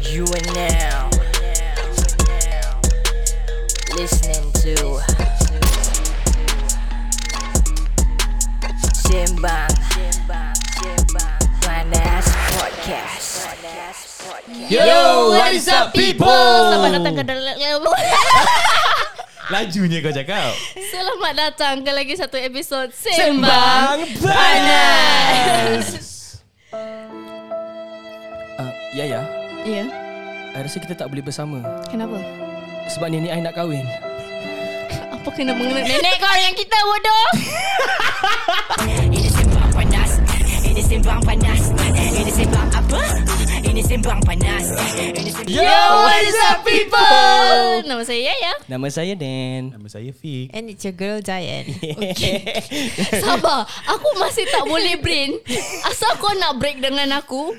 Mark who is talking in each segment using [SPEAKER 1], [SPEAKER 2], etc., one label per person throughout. [SPEAKER 1] You are now listening to Simbang Panas Podcast.
[SPEAKER 2] Yo, what is up people?
[SPEAKER 3] Selamat datang ke dalam
[SPEAKER 2] Lajunya kau cakap.
[SPEAKER 3] Selamat datang ke lagi satu episod Sembang.
[SPEAKER 2] Sembang panas.
[SPEAKER 4] Uh, ya ya,
[SPEAKER 3] Ya,
[SPEAKER 4] I rasa kita tak boleh bersama
[SPEAKER 3] kenapa?
[SPEAKER 4] sebab nenek I nak kahwin.
[SPEAKER 3] Apa kena mengena nenek kau dengan kita bodoh?
[SPEAKER 5] Ini sembang panas Ini sembang panas Ini sembang apa? Ini sembang panas Ini sembang
[SPEAKER 2] Yo, what is up people?
[SPEAKER 3] Oh, nama saya Yaya.
[SPEAKER 4] Nama saya Dan.
[SPEAKER 2] Nama saya Fik.
[SPEAKER 6] And it's your girl Giant.
[SPEAKER 3] Sabar, aku masih tak boleh brain. Asal kau nak break dengan aku?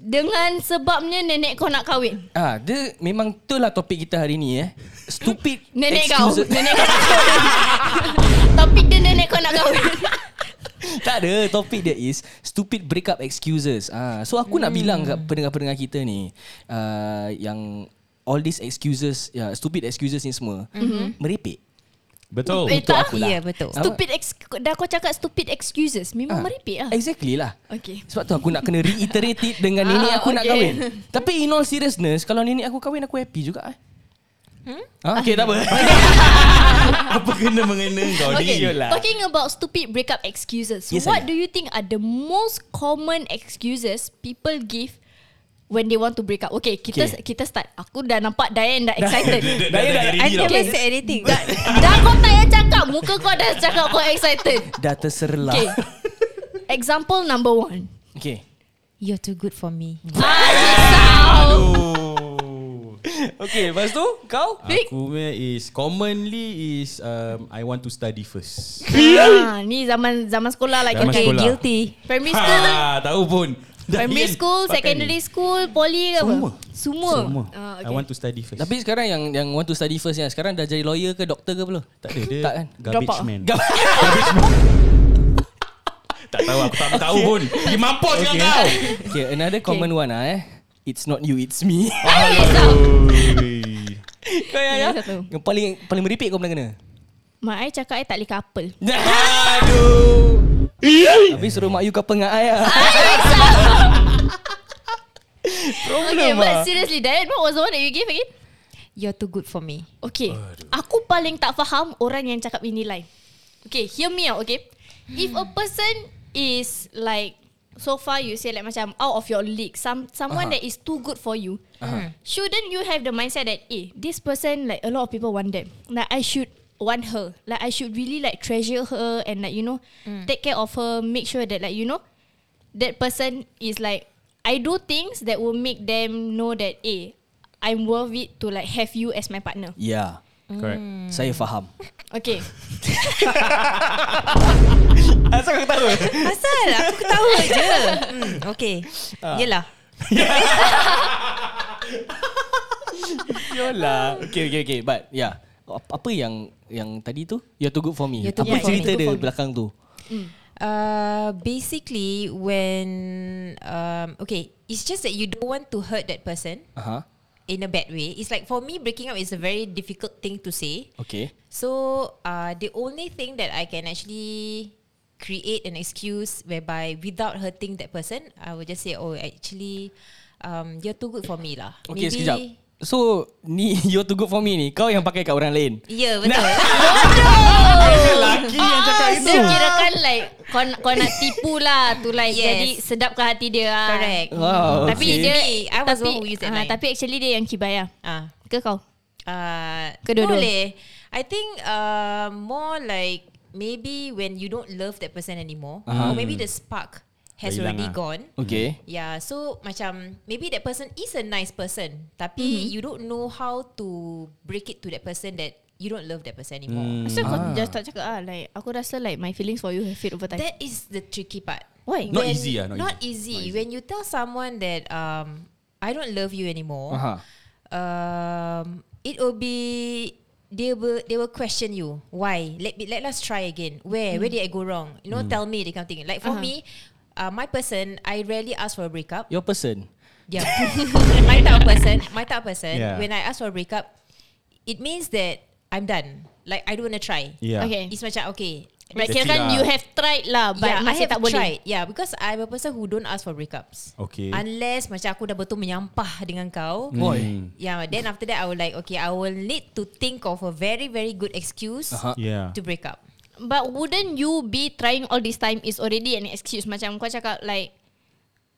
[SPEAKER 3] Dengan sebabnya nenek kau nak kahwin.
[SPEAKER 4] Ah, dia memang betul lah topik kita hari ni eh. Stupid.
[SPEAKER 3] Nenek
[SPEAKER 4] excuses.
[SPEAKER 3] kau. Nenek kau nak kahwin. Topik dia nenek kau nak kahwin.
[SPEAKER 4] tak ada, topik dia is stupid breakup excuses. Ah, so aku
[SPEAKER 3] Hmm.
[SPEAKER 4] nak bilang kat pendengar-pendengar kita ni uh, yang all these excuses, ya, stupid excuses ni semua
[SPEAKER 3] Mhm.
[SPEAKER 4] merepek.
[SPEAKER 2] Betul.
[SPEAKER 3] Eh,
[SPEAKER 4] Untuk
[SPEAKER 3] tak.
[SPEAKER 4] aku lah.
[SPEAKER 6] Ya, betul. Ah.
[SPEAKER 3] Stupid ex- dah kau cakap stupid excuses. Memang meripik lah.
[SPEAKER 4] Ah, Exactly lah.
[SPEAKER 3] Okay.
[SPEAKER 4] Sebab tu aku nak kena reiterate it dengan nenek
[SPEAKER 3] Ah,
[SPEAKER 4] aku nak
[SPEAKER 3] okay.
[SPEAKER 4] kahwin. Tapi in all seriousness, kalau nenek aku kahwin aku happy juga eh. Hmm? Ha? Okay, tak apa.
[SPEAKER 2] Apa kena mengena kau
[SPEAKER 3] Okay,
[SPEAKER 2] ni?
[SPEAKER 3] talking about stupid breakup excuses.
[SPEAKER 4] Yes,
[SPEAKER 3] what
[SPEAKER 4] Ayah.
[SPEAKER 3] do you think are the most common excuses people give when they want to break up? Okay, kita
[SPEAKER 4] Okay.
[SPEAKER 3] kita start. Aku dah nampak Diane dah excited.
[SPEAKER 2] Dia dah dah
[SPEAKER 4] lah.
[SPEAKER 6] I
[SPEAKER 2] ready
[SPEAKER 6] never
[SPEAKER 2] tau.
[SPEAKER 6] said anything.
[SPEAKER 3] dah kau tak payah cakap. Muka kau dah cakap kau excited.
[SPEAKER 4] Dah terserlah.
[SPEAKER 3] Okay.
[SPEAKER 4] Okay.
[SPEAKER 3] Example number one.
[SPEAKER 4] okay.
[SPEAKER 6] You're too good for me.
[SPEAKER 2] Ah,
[SPEAKER 3] Ah,
[SPEAKER 2] Aduh.
[SPEAKER 4] Okay, lepas tu kau?
[SPEAKER 3] Fik.
[SPEAKER 2] Aku punya is commonly is um, I want to study first.
[SPEAKER 3] Ah, ni zaman zaman sekolah lah.
[SPEAKER 2] Zaman
[SPEAKER 3] kita.
[SPEAKER 2] sekolah.
[SPEAKER 6] guilty.
[SPEAKER 3] Primary school.
[SPEAKER 2] Ha, tahu pun.
[SPEAKER 3] Primary school, secondary school, poly ke apa?
[SPEAKER 2] Semua.
[SPEAKER 3] Semua.
[SPEAKER 2] Semua.
[SPEAKER 3] Ah,
[SPEAKER 2] I want to study first.
[SPEAKER 4] Tapi sekarang yang yang want to study first yang sekarang dah jadi lawyer ke doktor ke belum?
[SPEAKER 2] tak ada dia.
[SPEAKER 4] Tak kan?
[SPEAKER 3] Drop
[SPEAKER 2] Garbage
[SPEAKER 3] out.
[SPEAKER 2] man.
[SPEAKER 4] Gab-
[SPEAKER 2] Tak tahu aku tak tahu pun. Pergi mampus dengan kau.
[SPEAKER 4] okay, another common one ah eh. It's not you, it's me.
[SPEAKER 3] ah.
[SPEAKER 2] Aduh.
[SPEAKER 4] kau yang,
[SPEAKER 3] Ini satu.
[SPEAKER 4] yang, yang paling paling meripik kau pernah kena.
[SPEAKER 3] Mak I cakap I tak boleh couple.
[SPEAKER 2] Aduh.
[SPEAKER 4] Habis suruh mak you kau pengak ai ah.
[SPEAKER 3] Okay,
[SPEAKER 4] Problem ah.
[SPEAKER 3] but seriously, Dayat, what was the one that you gave again?
[SPEAKER 6] You're too good for me.
[SPEAKER 3] Okay, aku paling tak faham orang yang cakap ini line. Okay, hear me out, okay? If a person is like, so far you say like macam out of your league, some someone
[SPEAKER 4] Aha.
[SPEAKER 3] that is too good for you, shouldn't you have the mindset that, eh, this person, like a lot of people want them. Like, I should want her. Like, I should really like treasure her and like, you know,
[SPEAKER 6] Mm.
[SPEAKER 3] take care of her, make sure that like, you know, that person is like I do things that will make them know that eh I'm worth it to like have you as my partner.
[SPEAKER 4] Ya,
[SPEAKER 2] Correct.
[SPEAKER 3] Hmm.
[SPEAKER 4] saya faham.
[SPEAKER 3] Okay.
[SPEAKER 4] Asal kau tahu?
[SPEAKER 6] Asal aku ketawa je. Hmm, okay. Yelah.
[SPEAKER 4] Yolah. Okay, okay, okay. But ya. yeah. Ap- Apa yang yang tadi tu? You're too good for me.
[SPEAKER 6] You're too
[SPEAKER 4] Apa
[SPEAKER 6] good for
[SPEAKER 4] cerita
[SPEAKER 3] me.
[SPEAKER 4] dia
[SPEAKER 3] You're too good for me.
[SPEAKER 4] belakang tu?
[SPEAKER 6] Uh, basically, when um, okay, it's just that you don't want to hurt that person
[SPEAKER 4] Aha.
[SPEAKER 6] in a bad way. It's like for me, breaking up is a very difficult thing to say.
[SPEAKER 4] Okay.
[SPEAKER 6] So uh, the only thing that I can actually create an excuse whereby without hurting that person, I will just say, oh, actually, um, you're too good for me lah.
[SPEAKER 4] Okay, Maybe. sekejap. So, ni you're too good for me ni. Kau yang pakai kat orang lain.
[SPEAKER 6] Ya, yeah, betul.
[SPEAKER 2] Lelaki yang cakap
[SPEAKER 3] So kira kan like kau, kau nak tipu lah tu like yes.
[SPEAKER 6] Yes.
[SPEAKER 3] jadi sedap ke hati dia lah.
[SPEAKER 6] Correct.
[SPEAKER 4] Wow.
[SPEAKER 3] Tapi
[SPEAKER 4] Oh, okay.
[SPEAKER 3] dia
[SPEAKER 6] Me, I was the
[SPEAKER 3] tapi,
[SPEAKER 6] one who used that
[SPEAKER 3] ah,
[SPEAKER 6] line.
[SPEAKER 3] tapi actually dia yang kibaya.
[SPEAKER 6] Ah,
[SPEAKER 3] Ke kau?
[SPEAKER 6] uh,
[SPEAKER 3] Kedua-dua.
[SPEAKER 6] boleh. I think uh, more like maybe when you don't love that person anymore, or maybe the spark has
[SPEAKER 2] Dah Uh-huh. hilang
[SPEAKER 6] already
[SPEAKER 2] ah.
[SPEAKER 6] gone.
[SPEAKER 4] Okay.
[SPEAKER 6] Yeah, so macam maybe that person is a nice person, tapi you don't know how to break it to that person that you don't love that person
[SPEAKER 2] Mm.
[SPEAKER 6] anymore.
[SPEAKER 3] So kau just tak cakap ah like aku rasa like my feelings for you have fade over time.
[SPEAKER 6] That is the tricky part.
[SPEAKER 3] Why?
[SPEAKER 2] Not easy ah, not
[SPEAKER 6] Not, easy. When you tell someone that um I don't love you anymore,
[SPEAKER 2] Uh-huh.
[SPEAKER 4] Aha.
[SPEAKER 6] um it will be they will they will question you why let me let us try again where where did I go wrong you know tell me that kind of thing like for
[SPEAKER 3] Uh-huh.
[SPEAKER 6] me uh, my person I rarely ask for a breakup
[SPEAKER 4] Your person.
[SPEAKER 6] yeah, my type of person, my type of person.
[SPEAKER 2] Yeah.
[SPEAKER 6] When I ask for a breakup, it means that I'm done. Like I don't wanna try.
[SPEAKER 2] Yeah.
[SPEAKER 3] Okay.
[SPEAKER 6] It's macam okay.
[SPEAKER 3] Like kira
[SPEAKER 2] That's
[SPEAKER 3] kan
[SPEAKER 2] it lah.
[SPEAKER 3] you have tried lah But
[SPEAKER 6] yeah, I
[SPEAKER 3] masih
[SPEAKER 6] have
[SPEAKER 3] tak boleh
[SPEAKER 6] tried. Yeah, because I'm a person who don't ask for breakups.
[SPEAKER 2] Okay.
[SPEAKER 6] Unless macam aku dah betul menyampah dengan kau.
[SPEAKER 4] Boy.
[SPEAKER 6] Yeah, then after that I will like okay, I will need to think of a very very good excuse
[SPEAKER 4] Aha.
[SPEAKER 2] Yeah.
[SPEAKER 6] to break up.
[SPEAKER 3] But wouldn't you be trying all this time is already an excuse macam kau cakap like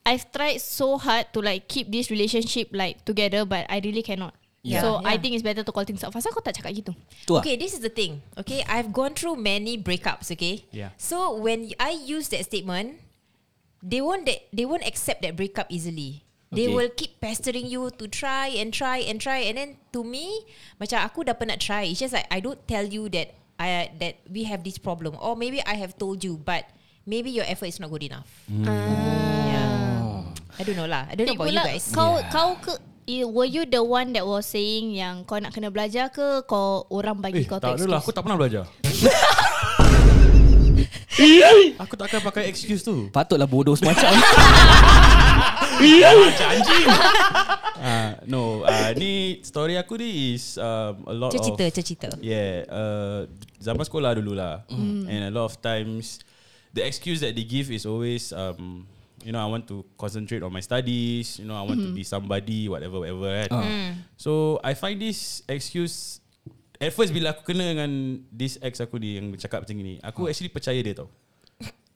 [SPEAKER 3] I've tried so hard to like keep this relationship like together but I really cannot. Yeah.
[SPEAKER 6] Yeah.
[SPEAKER 3] So
[SPEAKER 6] Yeah.
[SPEAKER 3] yeah. I think it's better to call things out. Pasal kau tak cakap gitu.
[SPEAKER 4] Tu lah.
[SPEAKER 6] Okay, this is the thing. Okay, I've gone through many breakups. Okay,
[SPEAKER 2] Yeah.
[SPEAKER 6] So when I use that statement, they won't that they won't accept that breakup easily. They
[SPEAKER 4] Okay.
[SPEAKER 6] will keep pestering you to try and try and try, and then to me, macam aku dah pernah try. It's just like I don't tell you that I that we have this problem, or maybe I have told you, but maybe your effort is not good enough.
[SPEAKER 2] Hmm.
[SPEAKER 6] Ah.
[SPEAKER 2] Oh.
[SPEAKER 6] Yeah. I don't know lah. I don't know about you
[SPEAKER 3] Pula
[SPEAKER 6] guys.
[SPEAKER 3] Kau yeah. kau ke i- Were you the one that was saying yang kau nak kena belajar ke kau orang bagi
[SPEAKER 2] Eh,
[SPEAKER 3] kau
[SPEAKER 2] tak
[SPEAKER 3] tu
[SPEAKER 2] ada lah. Aku
[SPEAKER 3] excuse?
[SPEAKER 2] tak pernah belajar. aku tak akan pakai excuse tu.
[SPEAKER 4] Patutlah bodoh semacam.
[SPEAKER 2] Macam anjing. Ah, no, ah, ni story aku ni is um, a lot
[SPEAKER 6] Cerita,
[SPEAKER 2] of...
[SPEAKER 6] cerita.
[SPEAKER 2] Yeah, uh, zaman sekolah dulu lah.
[SPEAKER 3] Mm.
[SPEAKER 2] And a lot of times, the excuse that they give is always, um, you know, I want to concentrate on my studies. You know, I want to
[SPEAKER 3] Mm-hmm.
[SPEAKER 2] be somebody, whatever, whatever. Right?
[SPEAKER 3] Ah.
[SPEAKER 2] So I find this excuse. At first bila aku kena dengan this ex aku ni yang cakap macam ni,
[SPEAKER 3] Ah.
[SPEAKER 2] aku actually percaya dia tau.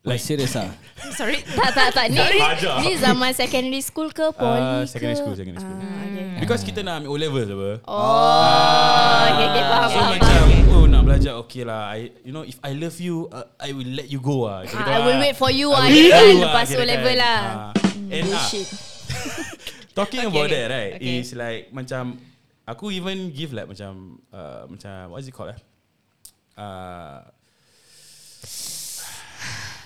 [SPEAKER 4] Like serious ah.
[SPEAKER 6] Sorry.
[SPEAKER 3] Tak tak tak ni,
[SPEAKER 2] Belajar.
[SPEAKER 3] ni zaman secondary school ke
[SPEAKER 2] Uh,
[SPEAKER 3] poly ke
[SPEAKER 2] secondary school, secondary school.
[SPEAKER 3] Ah, okay.
[SPEAKER 2] Because kita nak ambil O-level apa.
[SPEAKER 3] Oh okay, okay, faham,
[SPEAKER 2] So
[SPEAKER 3] faham,
[SPEAKER 2] macam
[SPEAKER 3] faham.
[SPEAKER 2] Oh nak belajar Okay lah I, You know if I love you uh, I will let you go lah Macam
[SPEAKER 3] Ah,
[SPEAKER 2] gitu
[SPEAKER 3] I will
[SPEAKER 2] lah.
[SPEAKER 3] wait for you
[SPEAKER 2] I
[SPEAKER 3] ah,
[SPEAKER 2] will
[SPEAKER 3] kira
[SPEAKER 2] wait for
[SPEAKER 3] kan,
[SPEAKER 2] you
[SPEAKER 3] lepas
[SPEAKER 2] kira
[SPEAKER 3] O-level
[SPEAKER 2] kan.
[SPEAKER 3] lah.
[SPEAKER 2] Ah. And ah,
[SPEAKER 3] Bullshit.
[SPEAKER 2] Talking
[SPEAKER 6] Okay,
[SPEAKER 2] about
[SPEAKER 6] okay.
[SPEAKER 2] that right
[SPEAKER 6] Okay.
[SPEAKER 2] Is like Macam Aku even give like Macam uh, Macam What is it called eh uh,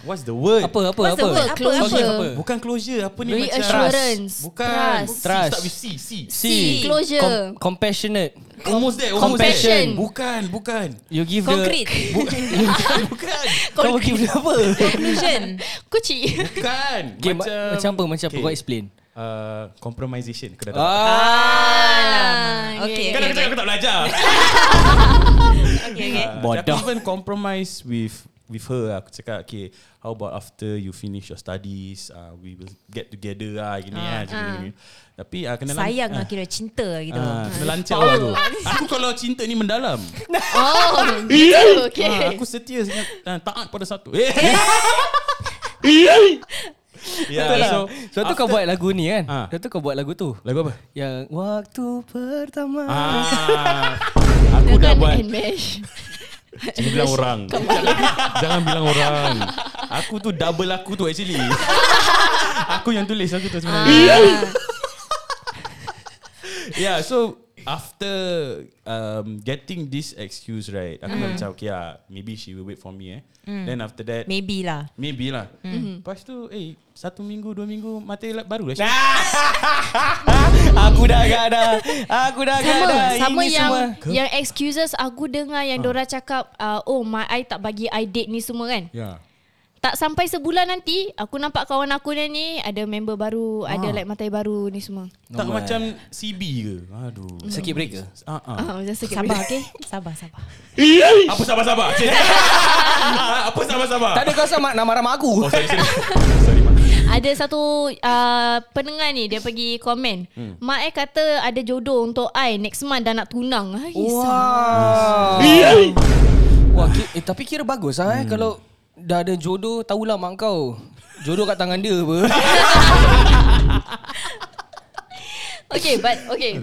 [SPEAKER 2] What's the word
[SPEAKER 4] Apa apa
[SPEAKER 6] What's
[SPEAKER 4] apa?
[SPEAKER 6] the word? Apa,
[SPEAKER 4] Apa,
[SPEAKER 3] apa?
[SPEAKER 4] apa?
[SPEAKER 2] Bukan closure Apa ni macam
[SPEAKER 3] Reassurance.
[SPEAKER 2] Bukan
[SPEAKER 3] Trust.
[SPEAKER 2] C,
[SPEAKER 4] Trust.
[SPEAKER 2] Start with C C
[SPEAKER 4] C.
[SPEAKER 3] Closure.
[SPEAKER 4] Com- compassionate.
[SPEAKER 2] Almost there almost
[SPEAKER 4] Compassion.
[SPEAKER 2] there. Bukan Bukan
[SPEAKER 4] You give
[SPEAKER 6] Concrete.
[SPEAKER 4] the bukan bukan. Kau give the apa?
[SPEAKER 6] Conclusion.
[SPEAKER 3] Kucing.
[SPEAKER 2] Bukan
[SPEAKER 4] Okay, macam, macam apa? Macam apa?
[SPEAKER 2] Okay.
[SPEAKER 4] Kau explain.
[SPEAKER 2] uh, compromisation
[SPEAKER 4] Ah.
[SPEAKER 2] aku dah tak
[SPEAKER 6] Ah, okay.
[SPEAKER 2] kan
[SPEAKER 6] okay,
[SPEAKER 2] aku cakap aku tak belajar
[SPEAKER 6] okay, okay.
[SPEAKER 2] Ah,
[SPEAKER 4] Bodoh.
[SPEAKER 2] aku even compromise with with her lah. aku cakap okay how about after you finish your studies uh, we will get together lah gini lah macam gini, gini. tapi uh, kena lan-
[SPEAKER 6] Sayang lah
[SPEAKER 2] ah,
[SPEAKER 6] kira cinta lah gitu.
[SPEAKER 2] ah, kena lancar lah tu aku kalau cinta ni mendalam
[SPEAKER 3] Oh, gitu.
[SPEAKER 2] Ah,
[SPEAKER 3] Okay.
[SPEAKER 2] aku setia sangat ah, taat pada satu eh yeah,
[SPEAKER 4] Betul lah.
[SPEAKER 2] Ya. so
[SPEAKER 4] Sebab tu kau
[SPEAKER 2] after-
[SPEAKER 4] buat lagu ni kan?
[SPEAKER 2] Ah.
[SPEAKER 4] Sebab tu kau buat lagu tu.
[SPEAKER 2] lagu apa
[SPEAKER 4] Yang waktu pertama.
[SPEAKER 2] ah, aku dah
[SPEAKER 3] Bukan
[SPEAKER 2] buat
[SPEAKER 3] and mash.
[SPEAKER 2] Jangan bilang orang Jangan bilang orang Aku tu double aku tu actually Aku yang tulis aku tu sebenarnya Yeah Ya, so After um, Getting this excuse right Aku mm. macam okay lah Maybe she will wait for me eh mm. Then after that Maybe,
[SPEAKER 6] Maybe lah.
[SPEAKER 2] lah mm. Lepas tu eh Satu minggu dua minggu Mata elak baru lah
[SPEAKER 4] Aku dah agak dah. Aku dah agak
[SPEAKER 3] Sama,
[SPEAKER 4] dah.
[SPEAKER 3] sama
[SPEAKER 4] Ini
[SPEAKER 3] yang
[SPEAKER 4] semua.
[SPEAKER 3] yang excuses aku dengar yang Dora cakap uh, oh my I tak bagi I date ni semua kan.
[SPEAKER 2] Yeah
[SPEAKER 3] Tak sampai sebulan nanti aku nampak kawan aku ni ni ada member baru, ada like matai baru ni semua.
[SPEAKER 2] Tak
[SPEAKER 4] Normal.
[SPEAKER 2] macam CB ke Aduh
[SPEAKER 4] Circuit breaker.
[SPEAKER 2] Ah, ah.
[SPEAKER 3] Ah, macam sakit.
[SPEAKER 6] Sabar,
[SPEAKER 3] boleh.
[SPEAKER 6] okay? Eh, Sabar, sabar.
[SPEAKER 2] Apa sabar-sabar Apa sabar-sabar
[SPEAKER 4] Tak ada kau sama nak marah mak aku.
[SPEAKER 2] Oh sorry sorry Sorry mak
[SPEAKER 3] Ada satu uh, pendengar ni dia pergi komen. Hmm. Mak I kata ada jodoh untuk I next month dah nak tunang. Ha,
[SPEAKER 4] Wow. Wah, ki, eh, tapi kira bagus lah eh.
[SPEAKER 2] Hmm.
[SPEAKER 4] Kalau dah ada jodoh, tahulah mak kau. Jodoh kat tangan dia apa.
[SPEAKER 3] Okay, but okay.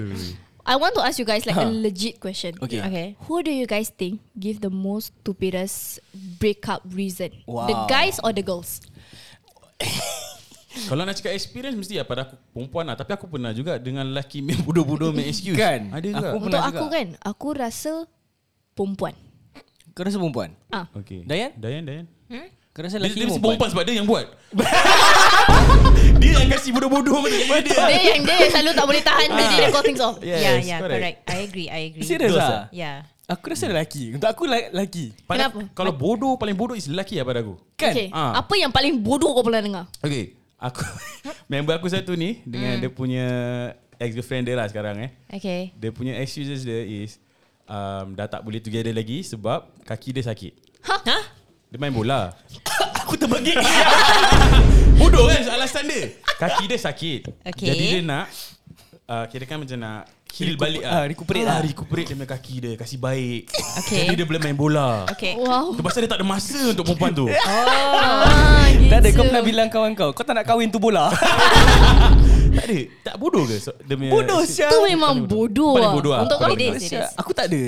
[SPEAKER 3] I want to ask you guys like a legit question.
[SPEAKER 4] Okay.
[SPEAKER 6] Okay.
[SPEAKER 3] Who do you guys think give the most stupidest breakup reason?
[SPEAKER 4] Wow.
[SPEAKER 3] The guys or the girls?
[SPEAKER 2] Kalau nak cakap experience Mesti lah pada aku Perempuan lah Tapi aku pernah juga Dengan lelaki main bodoh-bodoh Main excuse
[SPEAKER 4] Kan?
[SPEAKER 2] Ada
[SPEAKER 4] Aku-
[SPEAKER 2] juga aku,
[SPEAKER 3] Untuk
[SPEAKER 4] pernah
[SPEAKER 3] aku
[SPEAKER 4] juga.
[SPEAKER 3] kan, aku rasa perempuan.
[SPEAKER 4] Kau rasa perempuan?
[SPEAKER 3] Ah.
[SPEAKER 2] Okay
[SPEAKER 4] Dayan?
[SPEAKER 2] Dayan Dayan
[SPEAKER 4] Kau rasa
[SPEAKER 2] Dia,
[SPEAKER 4] lelaki
[SPEAKER 2] dia mesti perempuan sebab dia yang buat Dia yang kasi bodoh-bodoh Macam dia ya,
[SPEAKER 3] Dia yang dia yang selalu tak boleh tahan jadi dia call things off.
[SPEAKER 6] yeah, yeah, correct. I agree, I agree.
[SPEAKER 4] Serius
[SPEAKER 2] Girls
[SPEAKER 4] lah?
[SPEAKER 6] Yeah.
[SPEAKER 4] Aku rasa lelaki. Untuk aku le- lelaki.
[SPEAKER 2] Pada,
[SPEAKER 3] Kenapa?
[SPEAKER 2] Kalau bodoh Paling bodoh is lelaki lah pada aku
[SPEAKER 4] Kan?
[SPEAKER 3] Okay.
[SPEAKER 2] Ah.
[SPEAKER 3] Apa yang paling bodoh kau pernah dengar?
[SPEAKER 2] Okay Aku member aku satu ni dengan dia punya ex-girlfriend dia lah sekarang eh.
[SPEAKER 6] Okay.
[SPEAKER 2] Dia punya excuses dia is um, dah tak boleh together lagi sebab kaki dia sakit.
[SPEAKER 6] Huh? Huh?
[SPEAKER 2] Dia main bola.
[SPEAKER 4] Aku terbangkit.
[SPEAKER 2] Bodoh kan alasan dia. Kaki dia sakit.
[SPEAKER 6] Okay.
[SPEAKER 2] Jadi dia nak uh, kira kan macam nak heal
[SPEAKER 4] Recuper-
[SPEAKER 2] balik
[SPEAKER 4] ah, recuperate lah.
[SPEAKER 2] Recuperate dia punya kaki dia Kasih baik
[SPEAKER 6] Okay.
[SPEAKER 2] Jadi dia boleh main bola
[SPEAKER 6] Okay.
[SPEAKER 3] Wow.
[SPEAKER 6] Oh.
[SPEAKER 2] Tu pasal dia tak ada masa untuk perempuan tu
[SPEAKER 3] Ah,
[SPEAKER 4] tak ada kau
[SPEAKER 3] gitu.
[SPEAKER 4] pernah bilang kawan kau, kau tak nak kahwin tu bola.
[SPEAKER 2] Tak ada Tak bodoh ke so, dia punya
[SPEAKER 4] Bodoh
[SPEAKER 2] si-
[SPEAKER 4] sia.
[SPEAKER 3] Tu memang bodoh. ah.
[SPEAKER 2] Paling bodoh
[SPEAKER 4] ah.
[SPEAKER 2] lah.
[SPEAKER 3] Untuk kau
[SPEAKER 2] Paling
[SPEAKER 6] bodoh.
[SPEAKER 4] Sia, Aku tak ada.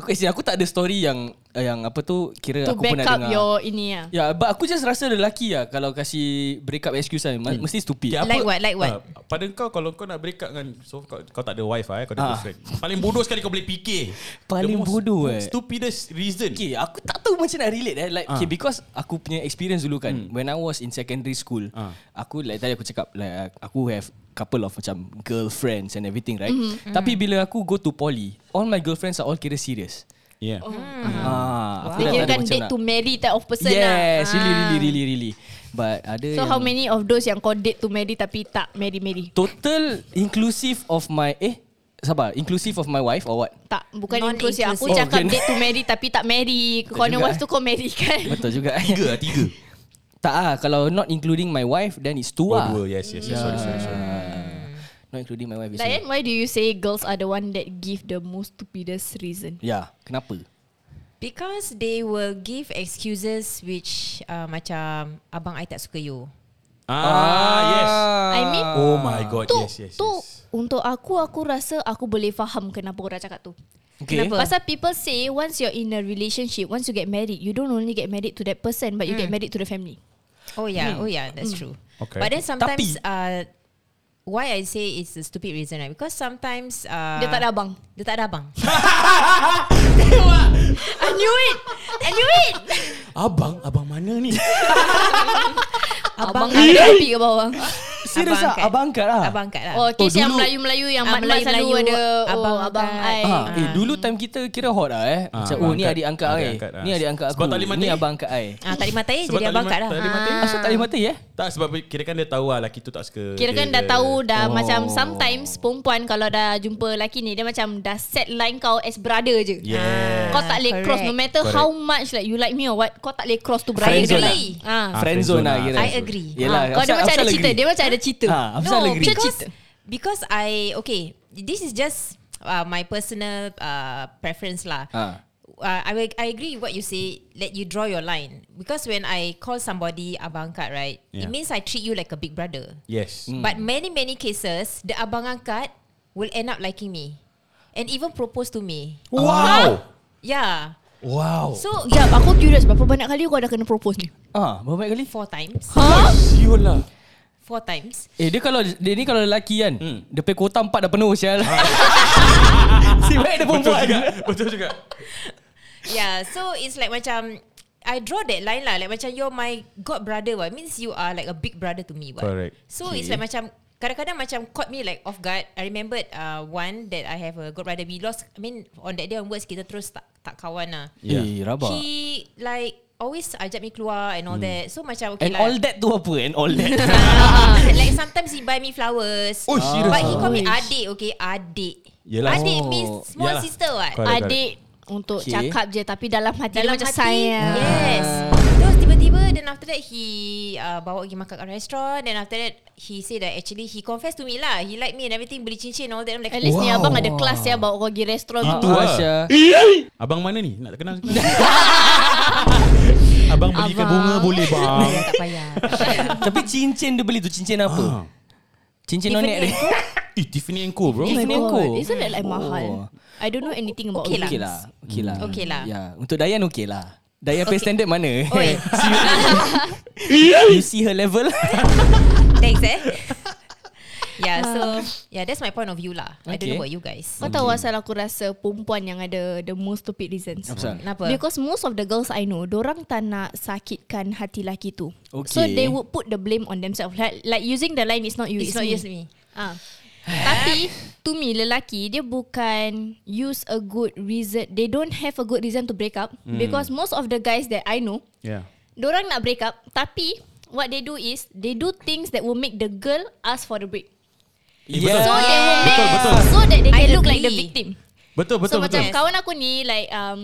[SPEAKER 4] Aku actually aku tak ada story yang eh, yang apa tu kira
[SPEAKER 3] to
[SPEAKER 4] aku
[SPEAKER 3] back
[SPEAKER 4] pernah
[SPEAKER 3] up
[SPEAKER 4] dengar.
[SPEAKER 3] your ini ya.
[SPEAKER 4] Ya, yeah, but aku just rasa lelaki lah kalau kasih break up excuse kan. Hmm. Mesti stupid.
[SPEAKER 2] Okay, apa-
[SPEAKER 6] Like what, like what?
[SPEAKER 2] Ah, pada kau kalau kau nak break up dengan so kau, kau tak ada wife ah, eh, kau ada
[SPEAKER 4] Ah.
[SPEAKER 2] girlfriend. Paling bodoh sekali kau boleh fikir.
[SPEAKER 4] Paling
[SPEAKER 2] The most
[SPEAKER 4] bodoh, eh.
[SPEAKER 2] Stupidest reason.
[SPEAKER 4] Okay, aku tak tahu macam nak relate eh. Like, okay,
[SPEAKER 2] Ah. Hmm.
[SPEAKER 4] because aku punya experience dulu kan. When I was in secondary school,
[SPEAKER 2] Ah.
[SPEAKER 4] aku like tadi aku cakap like uh, aku have couple of macam girlfriends and everything, right?
[SPEAKER 3] Mm-hmm.
[SPEAKER 4] Mm-hmm. Tapi bila aku go to poly, all my girlfriends are all kira serious.
[SPEAKER 2] Yeah.
[SPEAKER 6] Oh.
[SPEAKER 3] Mm-hmm.
[SPEAKER 4] Ah, aku dah tak
[SPEAKER 3] Dia kira
[SPEAKER 4] ada
[SPEAKER 3] kan
[SPEAKER 4] macam
[SPEAKER 3] date
[SPEAKER 4] nak-
[SPEAKER 3] to marry type of person lah.
[SPEAKER 4] Yes, really, really, really, really. But ada yang
[SPEAKER 3] So how many of those yang kau date to marry tapi tak marry-marry?
[SPEAKER 4] total inclusive of my eh sabar, inclusive of my wife or what?
[SPEAKER 3] Tak, bukan
[SPEAKER 6] Non-inclusive.
[SPEAKER 3] inclusive.
[SPEAKER 4] Oh,
[SPEAKER 3] Aku
[SPEAKER 4] okay.
[SPEAKER 3] cakap date to marry tapi tak marry. Kau
[SPEAKER 4] juga,
[SPEAKER 3] ni wife
[SPEAKER 4] eh.
[SPEAKER 3] tu kau marry kan?
[SPEAKER 4] Betul juga Tiga lah tiga Tak ah Kalau not including my wife Then it's two
[SPEAKER 2] Oh,
[SPEAKER 4] ah
[SPEAKER 2] dua. Yes, yes. yes. Sorry, sorry, sorry.
[SPEAKER 4] Not including my wife is
[SPEAKER 3] Diane, why do you say girls are the one that give the most stupidest reason?
[SPEAKER 4] Yeah Ya, Kenapa
[SPEAKER 6] Because they will give excuses which uh, macam abang I tak suka you.
[SPEAKER 2] Ah, yes.
[SPEAKER 3] I mean,
[SPEAKER 2] Oh my god.
[SPEAKER 3] tu,
[SPEAKER 2] yes, yes.
[SPEAKER 3] tu
[SPEAKER 2] yes.
[SPEAKER 3] untuk aku, aku rasa aku boleh faham kenapa orang cakap tu.
[SPEAKER 4] Okay
[SPEAKER 6] Kenapa?
[SPEAKER 3] Pasal people say once you're in a relationship, once you get married, you don't only get married to that person, but you get married to the family.
[SPEAKER 6] Oh yeah, oh yeah,
[SPEAKER 3] Hmm.
[SPEAKER 6] that's true.
[SPEAKER 2] Hmm. Okay.
[SPEAKER 6] But then sometimes
[SPEAKER 4] Tapi-
[SPEAKER 6] uh, why I say it's a stupid reason right? Because sometimes uh,
[SPEAKER 3] Dia tak ada abang.
[SPEAKER 6] dia tak ada abang.
[SPEAKER 3] I knew it. I knew it.
[SPEAKER 2] Abang, abang mana ni?
[SPEAKER 3] abang ada kopi ke bawah.
[SPEAKER 4] Serius ah Abang angkat lah
[SPEAKER 6] Abang angkat lah.
[SPEAKER 3] Oh,
[SPEAKER 4] Oh,
[SPEAKER 3] kes yang
[SPEAKER 4] dulu-
[SPEAKER 3] Melayu-Melayu yang
[SPEAKER 6] Ah,
[SPEAKER 3] mat-mat selalu
[SPEAKER 6] Melayu-Melayu,
[SPEAKER 3] ada.
[SPEAKER 6] abang kan.
[SPEAKER 3] Abang, oh, abang
[SPEAKER 6] angkat.
[SPEAKER 3] I.
[SPEAKER 4] Ah, eh dulu time kita kira hot lah eh.
[SPEAKER 2] Ah,
[SPEAKER 4] Macam
[SPEAKER 2] abang
[SPEAKER 4] oh ni
[SPEAKER 2] angkat.
[SPEAKER 4] adik angkat
[SPEAKER 2] Adik
[SPEAKER 4] ai.
[SPEAKER 2] angkat, ah.
[SPEAKER 4] Ni adik angkat aku.
[SPEAKER 2] Sebab tak boleh mati.
[SPEAKER 4] Ni abang angkat ai.
[SPEAKER 6] Ah, tak dimatai
[SPEAKER 2] Sebab
[SPEAKER 6] jadi
[SPEAKER 2] tak
[SPEAKER 6] abang
[SPEAKER 2] boleh
[SPEAKER 6] angkat lah.
[SPEAKER 2] ma- tak boleh mati.
[SPEAKER 6] Ah.
[SPEAKER 4] Asal tak boleh mati eh?
[SPEAKER 2] tak sebab kira kan dia tahu lah lelaki tu tak suka.
[SPEAKER 3] Kira kan
[SPEAKER 2] dia-
[SPEAKER 3] dah tahu dah
[SPEAKER 4] Oh.
[SPEAKER 3] oh. macam sometimes perempuan kalau dah jumpa lelaki ni dia macam dah set line kau as brother je.
[SPEAKER 2] Yeah.
[SPEAKER 3] Kau tak boleh
[SPEAKER 6] Correct.
[SPEAKER 3] cross no matter
[SPEAKER 2] Correct.
[SPEAKER 3] how much like you like me or what kau tak boleh cross to brother dia
[SPEAKER 4] Friendzone
[SPEAKER 3] lah. Ha.
[SPEAKER 2] Ah,
[SPEAKER 4] Friend
[SPEAKER 2] friendzone
[SPEAKER 4] zone lah
[SPEAKER 2] lah.
[SPEAKER 4] kira.
[SPEAKER 6] I agree.
[SPEAKER 4] Yelah,
[SPEAKER 3] Ah, Kau dia
[SPEAKER 4] Afsal-
[SPEAKER 3] macam
[SPEAKER 4] Afsal
[SPEAKER 3] ada cerita,
[SPEAKER 4] agree.
[SPEAKER 3] dia macam ada cerita.
[SPEAKER 4] Ah, Afsal
[SPEAKER 6] no,
[SPEAKER 4] agree.
[SPEAKER 6] because
[SPEAKER 3] Cerita.
[SPEAKER 6] because I okay. This is just uh, my personal uh, preference lah.
[SPEAKER 4] Ah.
[SPEAKER 6] Uh, I will- I agree with what you say. Let you draw your line because when I call somebody abang angkat, right?
[SPEAKER 2] Yeah.
[SPEAKER 6] It means I treat you like a big brother.
[SPEAKER 2] Yes.
[SPEAKER 6] But many many cases, the abang angkat will end up liking me, and even propose to me.
[SPEAKER 2] Wow.
[SPEAKER 6] Yeah.
[SPEAKER 2] Wow.
[SPEAKER 6] So
[SPEAKER 3] Jap, aku curious berapa banyak kali kau dah kena propose ni?
[SPEAKER 4] Ah, berapa banyak kali?
[SPEAKER 6] four times,
[SPEAKER 3] Ha?
[SPEAKER 2] Siul lah.
[SPEAKER 6] four times.
[SPEAKER 4] Eh dia kalau dia ni kalau lelaki kan,
[SPEAKER 2] Hmm.
[SPEAKER 4] dia punya kuota empat dah penuh sial. si baik dia
[SPEAKER 2] Ah. Betul
[SPEAKER 4] perempuan.
[SPEAKER 2] juga. Betul juga.
[SPEAKER 6] Yeah, so it's like macam I draw that line lah Like macam you're my god brother what Means you are like a big brother to me what
[SPEAKER 2] Correct.
[SPEAKER 6] So okay. it's like macam Kadang-kadang macam caught me like off guard I remembered uh, one that I have a god brother We lost I mean on that day onwards Kita terus tak, tak kawan lah
[SPEAKER 2] Yeah.
[SPEAKER 4] Eh, rabak.
[SPEAKER 6] He like always ajak me keluar and all hmm. that So macam okay
[SPEAKER 4] And
[SPEAKER 6] lah
[SPEAKER 4] all that tu apa? And all that.
[SPEAKER 6] Ah, like sometimes he buy me flowers
[SPEAKER 2] Oh, serious
[SPEAKER 6] But he
[SPEAKER 2] ah.
[SPEAKER 6] call me
[SPEAKER 3] Oish.
[SPEAKER 6] adik Okay adik
[SPEAKER 2] Yelah.
[SPEAKER 6] Adik
[SPEAKER 4] Oh.
[SPEAKER 6] means small
[SPEAKER 2] Yalah.
[SPEAKER 6] sister what
[SPEAKER 2] Correct,
[SPEAKER 3] Adik untuk
[SPEAKER 4] Okay. Ah.
[SPEAKER 3] okay. cakap je tapi dalam hati dalam dia macam
[SPEAKER 6] dalam
[SPEAKER 3] eh.
[SPEAKER 6] hati
[SPEAKER 3] sayang.
[SPEAKER 6] Yes Terus tiba-tiba Then after that He uh, bawa pergi makan kat restoran Then after that He say that actually He confess to me lah He like me and everything Beli cincin and all that I'm like
[SPEAKER 3] At least wow. ni
[SPEAKER 4] Wow. Ah,
[SPEAKER 3] abang ada kelas ya bawa kau pergi restoran.
[SPEAKER 2] Itu
[SPEAKER 3] semua.
[SPEAKER 2] lah.
[SPEAKER 4] Asya.
[SPEAKER 2] Abang mana ni? Nak kenal sekali. Abang belikan bunga boleh bang.
[SPEAKER 6] Tak payah tak payah.
[SPEAKER 4] Tapi cincin dia beli tu cincin apa?
[SPEAKER 2] Ah.
[SPEAKER 4] Cincin nonet dia.
[SPEAKER 2] Eh, Tiffany and Co
[SPEAKER 3] Oh
[SPEAKER 2] bro.
[SPEAKER 3] my
[SPEAKER 4] Isn't it
[SPEAKER 3] god.
[SPEAKER 4] cool?
[SPEAKER 3] Isn't that like
[SPEAKER 4] Oh.
[SPEAKER 3] mahal? I don't know anything about
[SPEAKER 6] Okay lah.
[SPEAKER 4] Okey lah. Okey lah.
[SPEAKER 6] Okey lah.
[SPEAKER 4] Ya, untuk Dayan okey lah. Dayan pay
[SPEAKER 6] Okey.
[SPEAKER 4] standard mana?
[SPEAKER 6] "Oh, Oi
[SPEAKER 4] you see her level?
[SPEAKER 6] Thanks eh Yeah so
[SPEAKER 3] Uh.
[SPEAKER 6] Yeah that's my point of view lah I don't
[SPEAKER 4] Okay.
[SPEAKER 6] know about you guys
[SPEAKER 3] Kau tahu asal aku rasa perempuan yang ada the most stupid reasons?
[SPEAKER 4] Apa?
[SPEAKER 6] Kenapa?
[SPEAKER 3] Because most of the girls I know, dorang tak nak sakitkan hati laki tu.
[SPEAKER 4] Okay.
[SPEAKER 3] So they would put the blame on themselves. Like, like using the line, it's not you,
[SPEAKER 6] It's
[SPEAKER 3] it's,
[SPEAKER 6] not
[SPEAKER 3] me.
[SPEAKER 6] just me
[SPEAKER 3] Ah. Tapi to me lelaki dia bukan use a good reason. They don't have a
[SPEAKER 2] Ya.
[SPEAKER 3] good reason to break up because most of the guys that I know,
[SPEAKER 2] Yeah.
[SPEAKER 3] dorang nak break up tapi what they do is they do things that will make the girl ask for the break.
[SPEAKER 4] Yeah.
[SPEAKER 3] So they will make
[SPEAKER 2] Eh, Betul, betul.
[SPEAKER 3] so that they
[SPEAKER 6] I
[SPEAKER 3] can look like the
[SPEAKER 6] agree.
[SPEAKER 3] victim.
[SPEAKER 2] Betul
[SPEAKER 3] so
[SPEAKER 2] betul betul.
[SPEAKER 3] macam kawan aku ni like um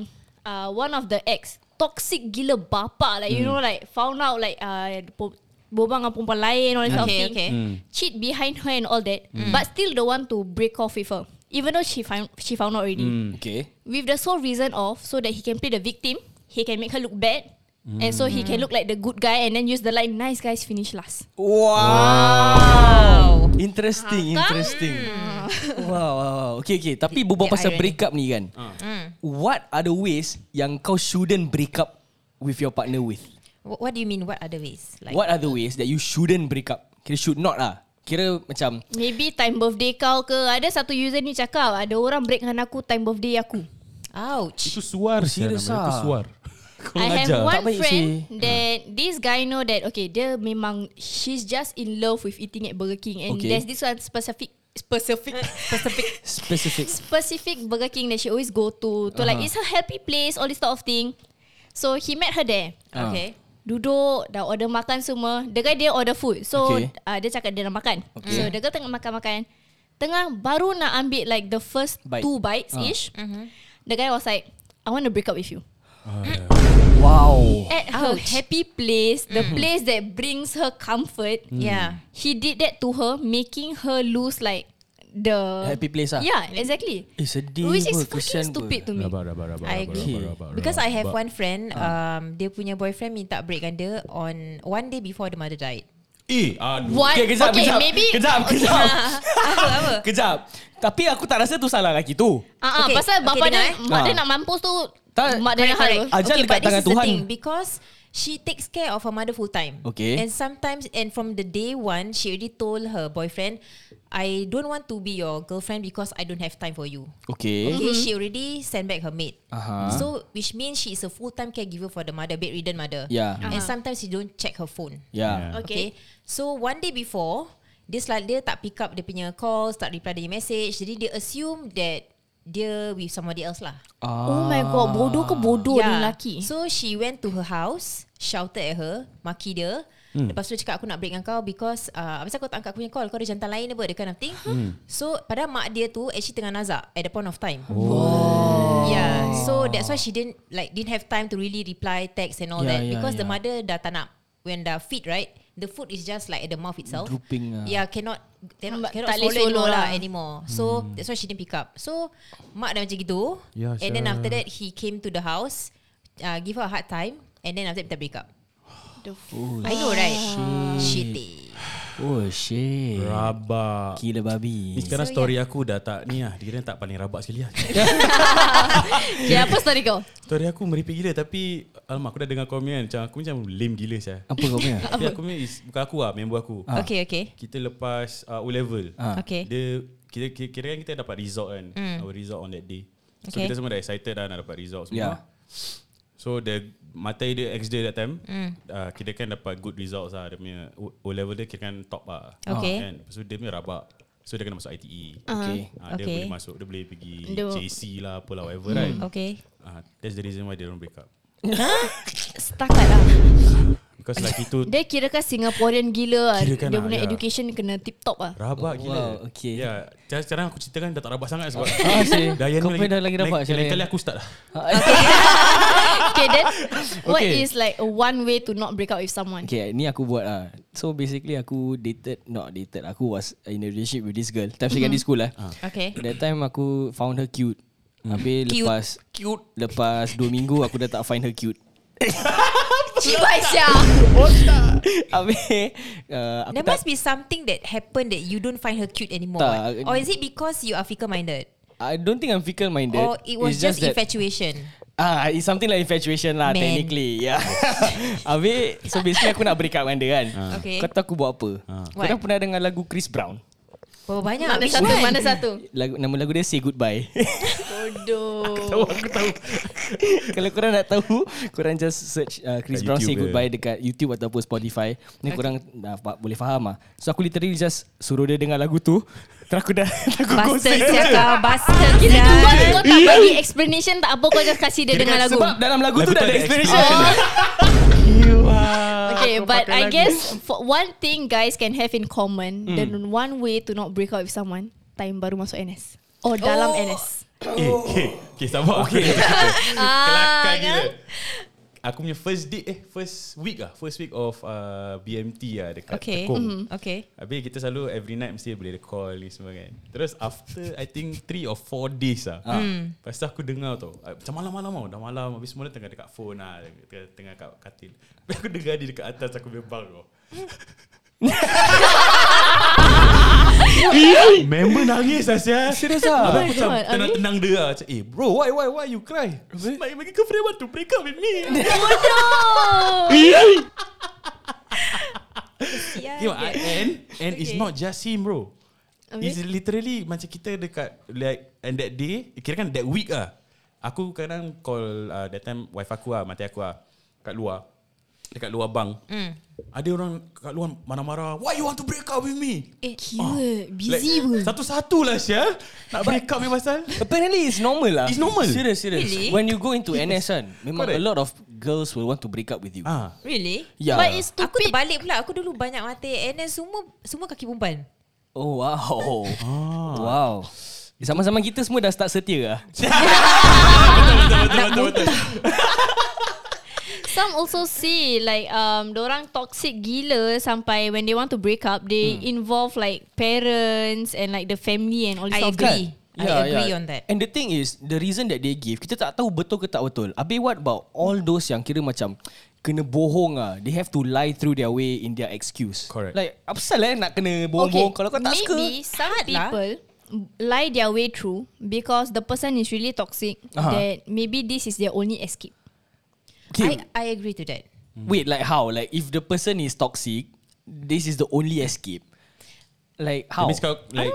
[SPEAKER 3] uh, one of the ex toxic gila bapa like you
[SPEAKER 2] Hmm.
[SPEAKER 3] know like found out like uh, po- berbual dengan perempuan lain all that sort of
[SPEAKER 6] Okay,
[SPEAKER 3] thing.
[SPEAKER 6] okay.
[SPEAKER 2] Hmm.
[SPEAKER 3] Cheat behind her and all that. But still the one to break off with her. Even though she found she found out already.
[SPEAKER 2] Hmm.
[SPEAKER 4] Okay.
[SPEAKER 3] With the sole reason of so that he can play the victim, he can make her look bad. And so
[SPEAKER 2] Hmm.
[SPEAKER 3] he can look like the good guy and then use the line nice guys finish last.
[SPEAKER 4] Wow. Interesting, interesting. Wow, wow, wow. Okay, okay. Tapi berbual
[SPEAKER 6] the
[SPEAKER 4] pasal
[SPEAKER 6] irony.
[SPEAKER 4] break up ni kan. What are the ways yang kau shouldn't break up with your partner with?
[SPEAKER 6] Wh- What do you mean? What other ways? Like
[SPEAKER 4] What are the ways that you shouldn't break up? Kira should not lah. Kira macam
[SPEAKER 3] Maybe time birthday kau ke Ada satu user ni cakap Ada orang break dengan aku Time birthday aku
[SPEAKER 6] Ouch.
[SPEAKER 2] Itu suar saya
[SPEAKER 4] Serious
[SPEAKER 2] nama. Itu
[SPEAKER 4] ah.
[SPEAKER 2] suar. Kau
[SPEAKER 3] I have
[SPEAKER 2] ngajar.
[SPEAKER 3] one
[SPEAKER 4] baik
[SPEAKER 3] friend
[SPEAKER 4] sih.
[SPEAKER 3] That this guy know that Okay dia memang She's just in love With eating at Burger King And
[SPEAKER 4] Okay.
[SPEAKER 3] there's this one specific Specific Specific
[SPEAKER 4] specific.
[SPEAKER 3] Specific Burger King That she always go to To
[SPEAKER 4] Uh-huh.
[SPEAKER 3] like It's a happy place All this sort of thing So he met her there
[SPEAKER 4] Ah.
[SPEAKER 6] Okay.
[SPEAKER 3] Duduk Dah order makan semua The guy dia order food So
[SPEAKER 4] Okay.
[SPEAKER 3] okay. uh, dia cakap dia nak makan
[SPEAKER 4] Okay.
[SPEAKER 3] okay. So the girl tengah makan-makan Tengah baru nak ambil Like the first
[SPEAKER 4] Bite. Ah.
[SPEAKER 3] Bite. two bites-ish The guy was like I want to break up with you
[SPEAKER 4] Wow.
[SPEAKER 3] At her happy place The place that brings her comfort
[SPEAKER 4] Hmm.
[SPEAKER 6] Yeah.
[SPEAKER 3] He did that to her Making her lose like The
[SPEAKER 4] Happy place ah.
[SPEAKER 3] Yeah exactly
[SPEAKER 4] Eh sedih.
[SPEAKER 3] Ya. Which is
[SPEAKER 4] ber, kesian
[SPEAKER 3] fucking
[SPEAKER 4] ber.
[SPEAKER 3] stupid to me
[SPEAKER 2] Rabak, rabak, rabak,
[SPEAKER 6] I
[SPEAKER 2] rabak,
[SPEAKER 4] agree.
[SPEAKER 2] rabak, rabak,
[SPEAKER 6] Because I have
[SPEAKER 2] rabak.
[SPEAKER 6] one friend,
[SPEAKER 4] uh.
[SPEAKER 6] um, dia punya boyfriend minta break dengan dia on one day before the mother died.
[SPEAKER 2] Eh, aduh.
[SPEAKER 3] What?
[SPEAKER 4] Okay, kejap,
[SPEAKER 3] okay
[SPEAKER 4] kejap.
[SPEAKER 3] maybe
[SPEAKER 4] Kejap, kejap.
[SPEAKER 6] apa apa?
[SPEAKER 4] Kejap. Tapi aku tak rasa tu salah lelaki tu.
[SPEAKER 3] Ah, ah,
[SPEAKER 6] Okay,
[SPEAKER 3] pasal
[SPEAKER 6] okay,
[SPEAKER 3] bapa dia,
[SPEAKER 6] dengar, eh. Ah.
[SPEAKER 3] mak dia
[SPEAKER 4] Ah.
[SPEAKER 3] nak mampus tu
[SPEAKER 4] Tak,
[SPEAKER 3] mak dia nak hal.
[SPEAKER 6] Correct, correct.
[SPEAKER 4] Ajal dekat
[SPEAKER 6] but this
[SPEAKER 4] tangan
[SPEAKER 6] is the
[SPEAKER 4] Tuhan.
[SPEAKER 6] thing, because she takes care of her mother full time.
[SPEAKER 4] Okay.
[SPEAKER 6] And sometimes, and from the day one, she already told her boyfriend, I don't want to be your girlfriend because I don't have time for you.
[SPEAKER 4] Okay. Mm-hmm. Uh-huh.
[SPEAKER 6] Okay, she already sent back her maid.
[SPEAKER 4] Aha.
[SPEAKER 6] So, which means she is a full-time caregiver for the mother, bedridden mother.
[SPEAKER 4] Yeah.
[SPEAKER 6] And sometimes she don't check her phone.
[SPEAKER 4] Yeah.
[SPEAKER 6] Okay. So one day before, dia selalu dia tak pick up dia punya calls, tak reply dia punya message. Jadi dia assume that dia with somebody else lah.
[SPEAKER 3] Oh my god, bodoh ke bodoh yeah. ni lelaki?
[SPEAKER 6] Ya. So she went to her house, shouted at her, maki dia. Hmm. Lepas tu dia cakap aku nak break dengan kau because uh, apa pasal kau tak angkat aku punya call, kau ada jantan lain apa that kind of thing. So padahal mak dia tu actually tengah nazak at the point of time. Wow. Yeah. So that's why she didn't like didn't have time to really reply text and all
[SPEAKER 4] Yeah,
[SPEAKER 6] that
[SPEAKER 4] yeah,
[SPEAKER 6] because the
[SPEAKER 4] yeah.
[SPEAKER 6] mother dah tak nak when dah feed right. The food is just like at the mouth itself.
[SPEAKER 4] Drooping lah.
[SPEAKER 6] Yeah, cannot
[SPEAKER 3] Tak
[SPEAKER 6] cannot, cannot
[SPEAKER 3] boleh
[SPEAKER 6] swallow,
[SPEAKER 3] swallow
[SPEAKER 6] anymore lah.
[SPEAKER 3] lah.
[SPEAKER 6] anymore. So that's why she didn't pick up. So mak dah macam gitu.
[SPEAKER 2] Ya,
[SPEAKER 6] and then
[SPEAKER 2] sia.
[SPEAKER 6] after that he came to the house, uh, give her a hard time, and then after that kita break up. I know right. Shitty.
[SPEAKER 4] Oh shit.
[SPEAKER 2] Rabak.
[SPEAKER 4] Gila babi.
[SPEAKER 2] Ni sekarang story aku dah tak ni lah. Dia tak paling rabak sekali lah.
[SPEAKER 3] Okay, apa story kau?
[SPEAKER 2] story aku meripik gila tapi alamak aku dah dengar komen kan, macam aku macam lame gila saya.
[SPEAKER 4] Apa kau punya?
[SPEAKER 2] Tapi aku ni is, bukan aku lah, member aku.
[SPEAKER 6] Okay, okay.
[SPEAKER 2] Kita lepas uh, O level.
[SPEAKER 4] Ah.
[SPEAKER 6] Okay.
[SPEAKER 2] Dia kira, kira, kira kan kita dapat result kan. Our result on that day. So
[SPEAKER 6] Okay.
[SPEAKER 2] kita semua dah excited dah nak dapat result semua.
[SPEAKER 4] Yeah.
[SPEAKER 2] So the mata dia ex dia that time mm. uh, Kira kan dapat good results lah Dia punya O O level dia kira kan top lah
[SPEAKER 6] Okay.
[SPEAKER 2] kan? Lepas tu dia punya rabak So dia kena masuk ITE
[SPEAKER 3] Uh-huh.
[SPEAKER 4] Okay.
[SPEAKER 2] uh, Dia
[SPEAKER 6] Okay. Hmm.
[SPEAKER 2] boleh masuk Dia boleh pergi
[SPEAKER 3] Dia-
[SPEAKER 2] JC lah Apalah whatever right
[SPEAKER 6] Okay.
[SPEAKER 2] uh, That's the reason why they don't break up
[SPEAKER 3] Setakat lah.
[SPEAKER 2] Because lelaki tu
[SPEAKER 3] Dia kira kan Singaporean gila lah.
[SPEAKER 2] Kirakan
[SPEAKER 3] Dia
[SPEAKER 2] lah,
[SPEAKER 3] punya
[SPEAKER 2] ya.
[SPEAKER 3] education kena tip top lah.
[SPEAKER 2] Rabak
[SPEAKER 4] Wow,
[SPEAKER 2] gila
[SPEAKER 4] okay.
[SPEAKER 2] Ya yeah. Sekarang aku ceritakan Dah tak rabak sangat sebab
[SPEAKER 4] Ah, sih.
[SPEAKER 2] Dayana
[SPEAKER 4] Kau punya dah lagi rabak,
[SPEAKER 2] Lain, lain
[SPEAKER 4] Syariah.
[SPEAKER 2] kali aku start lah
[SPEAKER 3] Okay then, what
[SPEAKER 2] Okay.
[SPEAKER 3] is like one way to not break up with someone?
[SPEAKER 4] Okay, ni aku buat lah. So basically aku dated, not dated. Aku was in a relationship with this girl.
[SPEAKER 3] Mm-hmm.
[SPEAKER 4] Time secondary school lah.
[SPEAKER 6] Okay.
[SPEAKER 4] That time aku found her cute. Habis
[SPEAKER 6] Cute.
[SPEAKER 4] lepas
[SPEAKER 6] Cute.
[SPEAKER 4] lepas 2 minggu aku dah tak find her cute.
[SPEAKER 3] Cibai sia.
[SPEAKER 4] Habis uh, aku
[SPEAKER 6] There
[SPEAKER 4] tak
[SPEAKER 6] must be something that happened that you don't find her cute anymore.
[SPEAKER 4] Tak.
[SPEAKER 6] Or is it because you are fickle-minded?
[SPEAKER 4] I don't think I'm fickle minded.
[SPEAKER 6] Or Oh, it was just, infatuation?
[SPEAKER 4] Ah, it's something like infatuation lah
[SPEAKER 6] Man.
[SPEAKER 4] technically. Yeah. Habis so basically aku nak break up dengan dia kan.
[SPEAKER 2] Ah.
[SPEAKER 6] Okay.
[SPEAKER 4] Kau tahu aku buat apa? Kau dah
[SPEAKER 6] What?
[SPEAKER 4] pernah dengar lagu Chris Brown?
[SPEAKER 6] Berapa banyak? kan?
[SPEAKER 3] Mana
[SPEAKER 6] Which
[SPEAKER 3] satu,
[SPEAKER 6] one?
[SPEAKER 3] mana satu.
[SPEAKER 4] Lagu, nama lagu dia Say Goodbye.
[SPEAKER 3] Bodoh.
[SPEAKER 2] Tahu aku tahu
[SPEAKER 4] Kalau korang nak tahu, korang just search uh, Chris
[SPEAKER 2] Kat
[SPEAKER 4] Brown Say
[SPEAKER 2] YouTube ke?
[SPEAKER 4] Goodbye dekat YouTube ataupun Spotify. Ni korang dah fa- boleh faham lah. So aku literally just suruh dia dengar lagu tu. Terus aku dah aku
[SPEAKER 6] Bastard
[SPEAKER 4] gosip.
[SPEAKER 6] siapa kau Bastard
[SPEAKER 3] Kira tu
[SPEAKER 6] sial.
[SPEAKER 3] kau, kau tak bagi explanation tak apa kau just kasih dia
[SPEAKER 2] Kira
[SPEAKER 3] dengan
[SPEAKER 2] kan
[SPEAKER 3] lagu.
[SPEAKER 4] Sebab dalam lagu
[SPEAKER 2] Lagu
[SPEAKER 4] tu dah ada explanation.
[SPEAKER 2] explanation.
[SPEAKER 4] You are
[SPEAKER 3] Okay, but I guess for one thing guys can have in common, the one way to not break up with someone, time baru masuk NS or dalam
[SPEAKER 6] Oh.
[SPEAKER 3] NS.
[SPEAKER 2] Eh, okay, okay, sabar. Okay.
[SPEAKER 6] Ah,
[SPEAKER 2] Kelakar
[SPEAKER 6] kan?
[SPEAKER 2] gila. Aku punya first date eh first week ah first week of uh, BMT ah dekat
[SPEAKER 6] Okay. mm-hmm.
[SPEAKER 2] Tekong.
[SPEAKER 6] Okay.
[SPEAKER 2] Habis kita selalu every night mesti boleh call ni semua kan. Terus after I think 3 or 4 days lah. Hmm. Lepas tu aku dengar tau. ah, Macam malam-malam tau. Dah malam habis semua orang tengah dekat phone lah. Tengah, tengah kat katil. Habis aku dengar dia dekat atas aku punya bang tau. Member nangis lah Sia Serius
[SPEAKER 4] ah?
[SPEAKER 2] Abang aku
[SPEAKER 3] Oh
[SPEAKER 2] macam
[SPEAKER 3] my God,
[SPEAKER 2] tenang-tenang dia lah Macam eh bro why why why you cry My, my girlfriend want to break up with me
[SPEAKER 6] Yeah.
[SPEAKER 2] You know, I- and and it's not just him, bro.
[SPEAKER 3] Okay.
[SPEAKER 2] It's literally macam kita dekat like and that day, kira kan that week ah. Aku kadang call uh, that time wife aku ah, mati aku ah kat luar. Dekat luar bang.
[SPEAKER 3] Hmm.
[SPEAKER 2] Mm. Ada orang kat luar marah-marah, "Why you want to break up with me?"
[SPEAKER 3] Eh, Kira, busy
[SPEAKER 2] like,
[SPEAKER 3] pun.
[SPEAKER 2] Satu-satu lah Syah Nak break up ni pasal
[SPEAKER 4] Apparently it's normal lah.
[SPEAKER 2] It's normal.
[SPEAKER 4] Serious, serious.
[SPEAKER 6] Really?
[SPEAKER 4] When you go into NS kan, memang
[SPEAKER 2] Correct.
[SPEAKER 4] a lot of girls will want to break up with you.
[SPEAKER 2] ah.
[SPEAKER 6] Really?
[SPEAKER 4] Yeah.
[SPEAKER 3] But it's
[SPEAKER 6] Aku
[SPEAKER 3] stupid.
[SPEAKER 6] terbalik pula. Aku dulu banyak mata and then semua semua kaki perempuan.
[SPEAKER 4] Oh wow.
[SPEAKER 2] Ah.
[SPEAKER 4] Wow. Sama-sama kita semua dah start setia lah.
[SPEAKER 3] Some also say like um orang toxic gila sampai when they want to break up they involve like parents and like the family and all this
[SPEAKER 6] I
[SPEAKER 3] sort of
[SPEAKER 6] agree.
[SPEAKER 3] thing.
[SPEAKER 6] I agree on that.
[SPEAKER 4] Kan? And the thing is, the reason that they give, kita tak tahu betul ke tak betul. Habis what about all those yang kira macam kena bohong ah. They have to lie through their way in their excuse.
[SPEAKER 2] Correct.
[SPEAKER 4] Like, apa pasal eh nak kena bohong-bohong kalau kau tak suka?
[SPEAKER 3] maybe some
[SPEAKER 6] hard lah.
[SPEAKER 3] people lie their way through because the person is really toxic
[SPEAKER 4] Aha.
[SPEAKER 3] that maybe this is their only escape.
[SPEAKER 4] Okay.
[SPEAKER 6] I I agree to that.
[SPEAKER 4] Mm. Wait, like how? Like if the person is toxic, this is the only escape. Like
[SPEAKER 2] That
[SPEAKER 4] how?
[SPEAKER 2] means kau, like,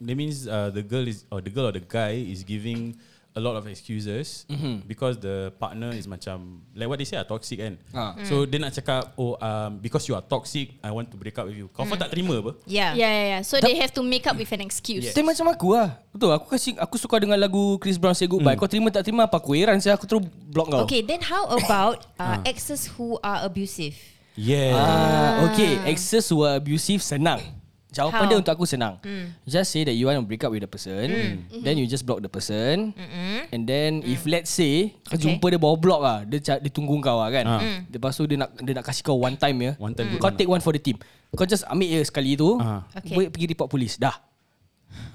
[SPEAKER 2] That means uh, the girl is or the girl or the guy is giving a lot of excuses
[SPEAKER 3] Mm-hmm.
[SPEAKER 2] because the partner is macam like what they say are toxic kan.
[SPEAKER 4] Ah.
[SPEAKER 2] So dia nak cakap oh um, because you are toxic I want to break up with you. Kau mm. tak terima apa?
[SPEAKER 6] Yeah.
[SPEAKER 3] Yeah, yeah, yeah. So they have to make up with an excuse.
[SPEAKER 4] Tapi macam aku lah Betul aku kasi Aku suka dengan lagu Chris Brown Say Goodbye Kau terima tak terima apa Aku heran saya Aku terus block kau
[SPEAKER 6] Okay, then how about uh, exes who are abusive?
[SPEAKER 2] Yeah.
[SPEAKER 4] Ah, okay, exes who are abusive senang. Jawapan
[SPEAKER 6] How? Hmm.
[SPEAKER 4] dia untuk aku senang. Just say that you want to break up with the person, Mm-hmm. then you just block the person, and then if let's say kau
[SPEAKER 6] Hmm. Okay. Hmm.
[SPEAKER 4] jumpa dia bawah block ah, dia, ca- dia tunggu kau ah kan. Lepas tu dia nak dia nak kasih kau one time ya.
[SPEAKER 2] One time good
[SPEAKER 4] Kau
[SPEAKER 2] one
[SPEAKER 4] take one for the team. Kau just ambil je sekali tu,
[SPEAKER 2] Ah.
[SPEAKER 6] Okay.
[SPEAKER 4] boleh pergi report polis. Dah.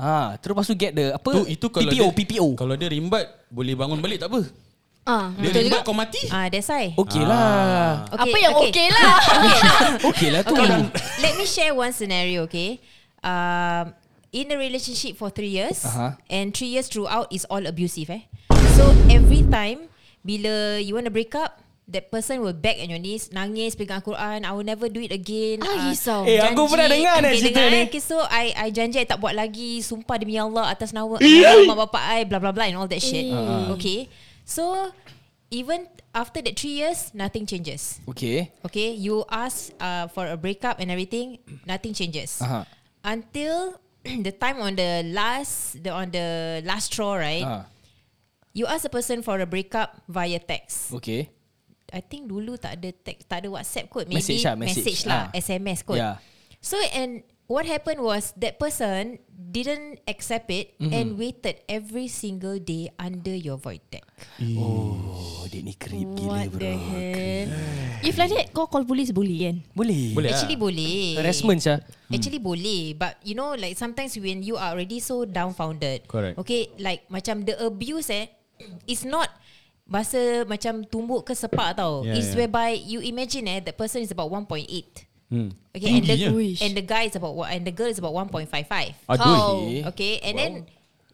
[SPEAKER 4] Ha, terus lepas tu get the apa?
[SPEAKER 3] Ah.
[SPEAKER 2] Tu itu kalau
[SPEAKER 4] PPO,
[SPEAKER 2] dia,
[SPEAKER 4] PPO.
[SPEAKER 2] Kalau dia rimbat boleh bangun balik tak apa.
[SPEAKER 3] Ah,
[SPEAKER 2] Dia
[SPEAKER 3] betul
[SPEAKER 2] rimbat
[SPEAKER 3] juga.
[SPEAKER 2] kau mati.
[SPEAKER 6] Ah, uh, that's why.
[SPEAKER 4] Okay lah.
[SPEAKER 3] Apa yang okay, lah.
[SPEAKER 2] Ah.
[SPEAKER 4] Okay lah tu.
[SPEAKER 6] Okay, let me share one scenario, okay? Um, in a relationship for three years,
[SPEAKER 4] Aha.
[SPEAKER 6] and three years throughout is all abusive, eh? So every time bila you want to break up, that person will beg on your knees, nangis, pegang Quran, I will never do it again.
[SPEAKER 3] Ah, risau.
[SPEAKER 4] Eh, aku pernah dengar ni cerita ni.
[SPEAKER 6] dengar, eh. Okay, so I, I janji I tak buat lagi, sumpah demi Allah atas nama
[SPEAKER 4] Eh.
[SPEAKER 6] nama mak bapak I, blah blah blah and all that shit. Okay, so even after that three years, nothing changes.
[SPEAKER 4] Okay.
[SPEAKER 6] Okay, you ask uh, for a breakup and everything, nothing changes
[SPEAKER 4] Aha.
[SPEAKER 6] until the time on the last, the on the last straw, right?
[SPEAKER 4] Ah,
[SPEAKER 6] You ask a person for a breakup via text.
[SPEAKER 4] okay.
[SPEAKER 6] I think dulu tak ada text, tak ada WhatsApp kot, maybe
[SPEAKER 4] Message lah, message.
[SPEAKER 6] lah,
[SPEAKER 4] Ah.
[SPEAKER 6] SMS kot.
[SPEAKER 4] Yeah.
[SPEAKER 6] So and what happened was that person didn't accept it
[SPEAKER 4] Mm-hmm.
[SPEAKER 6] and waited every single day under your void deck.
[SPEAKER 4] Oh, dia ni creep gila
[SPEAKER 3] What the
[SPEAKER 4] bro.
[SPEAKER 3] hell? If like that, kau call police boleh kan?
[SPEAKER 4] Boleh.
[SPEAKER 2] Boleh
[SPEAKER 6] Actually boleh.
[SPEAKER 4] Harassment sah.
[SPEAKER 2] Hmm.
[SPEAKER 6] Actually boleh But you know like Sometimes when you are already So downfounded
[SPEAKER 2] Correct.
[SPEAKER 6] Okay like Macam the abuse eh It's not Bahasa macam Tumbuk ke sepak tau
[SPEAKER 2] Yeah,
[SPEAKER 6] yeah,
[SPEAKER 2] yeah.
[SPEAKER 6] It's yeah. whereby You imagine eh That person is about 1.8
[SPEAKER 2] Hmm.
[SPEAKER 6] Okay and the,
[SPEAKER 2] Tinggi
[SPEAKER 3] je.
[SPEAKER 6] and the guy is about And the girl is about 1.55
[SPEAKER 2] Aduh.
[SPEAKER 4] Eh.
[SPEAKER 6] Okay and then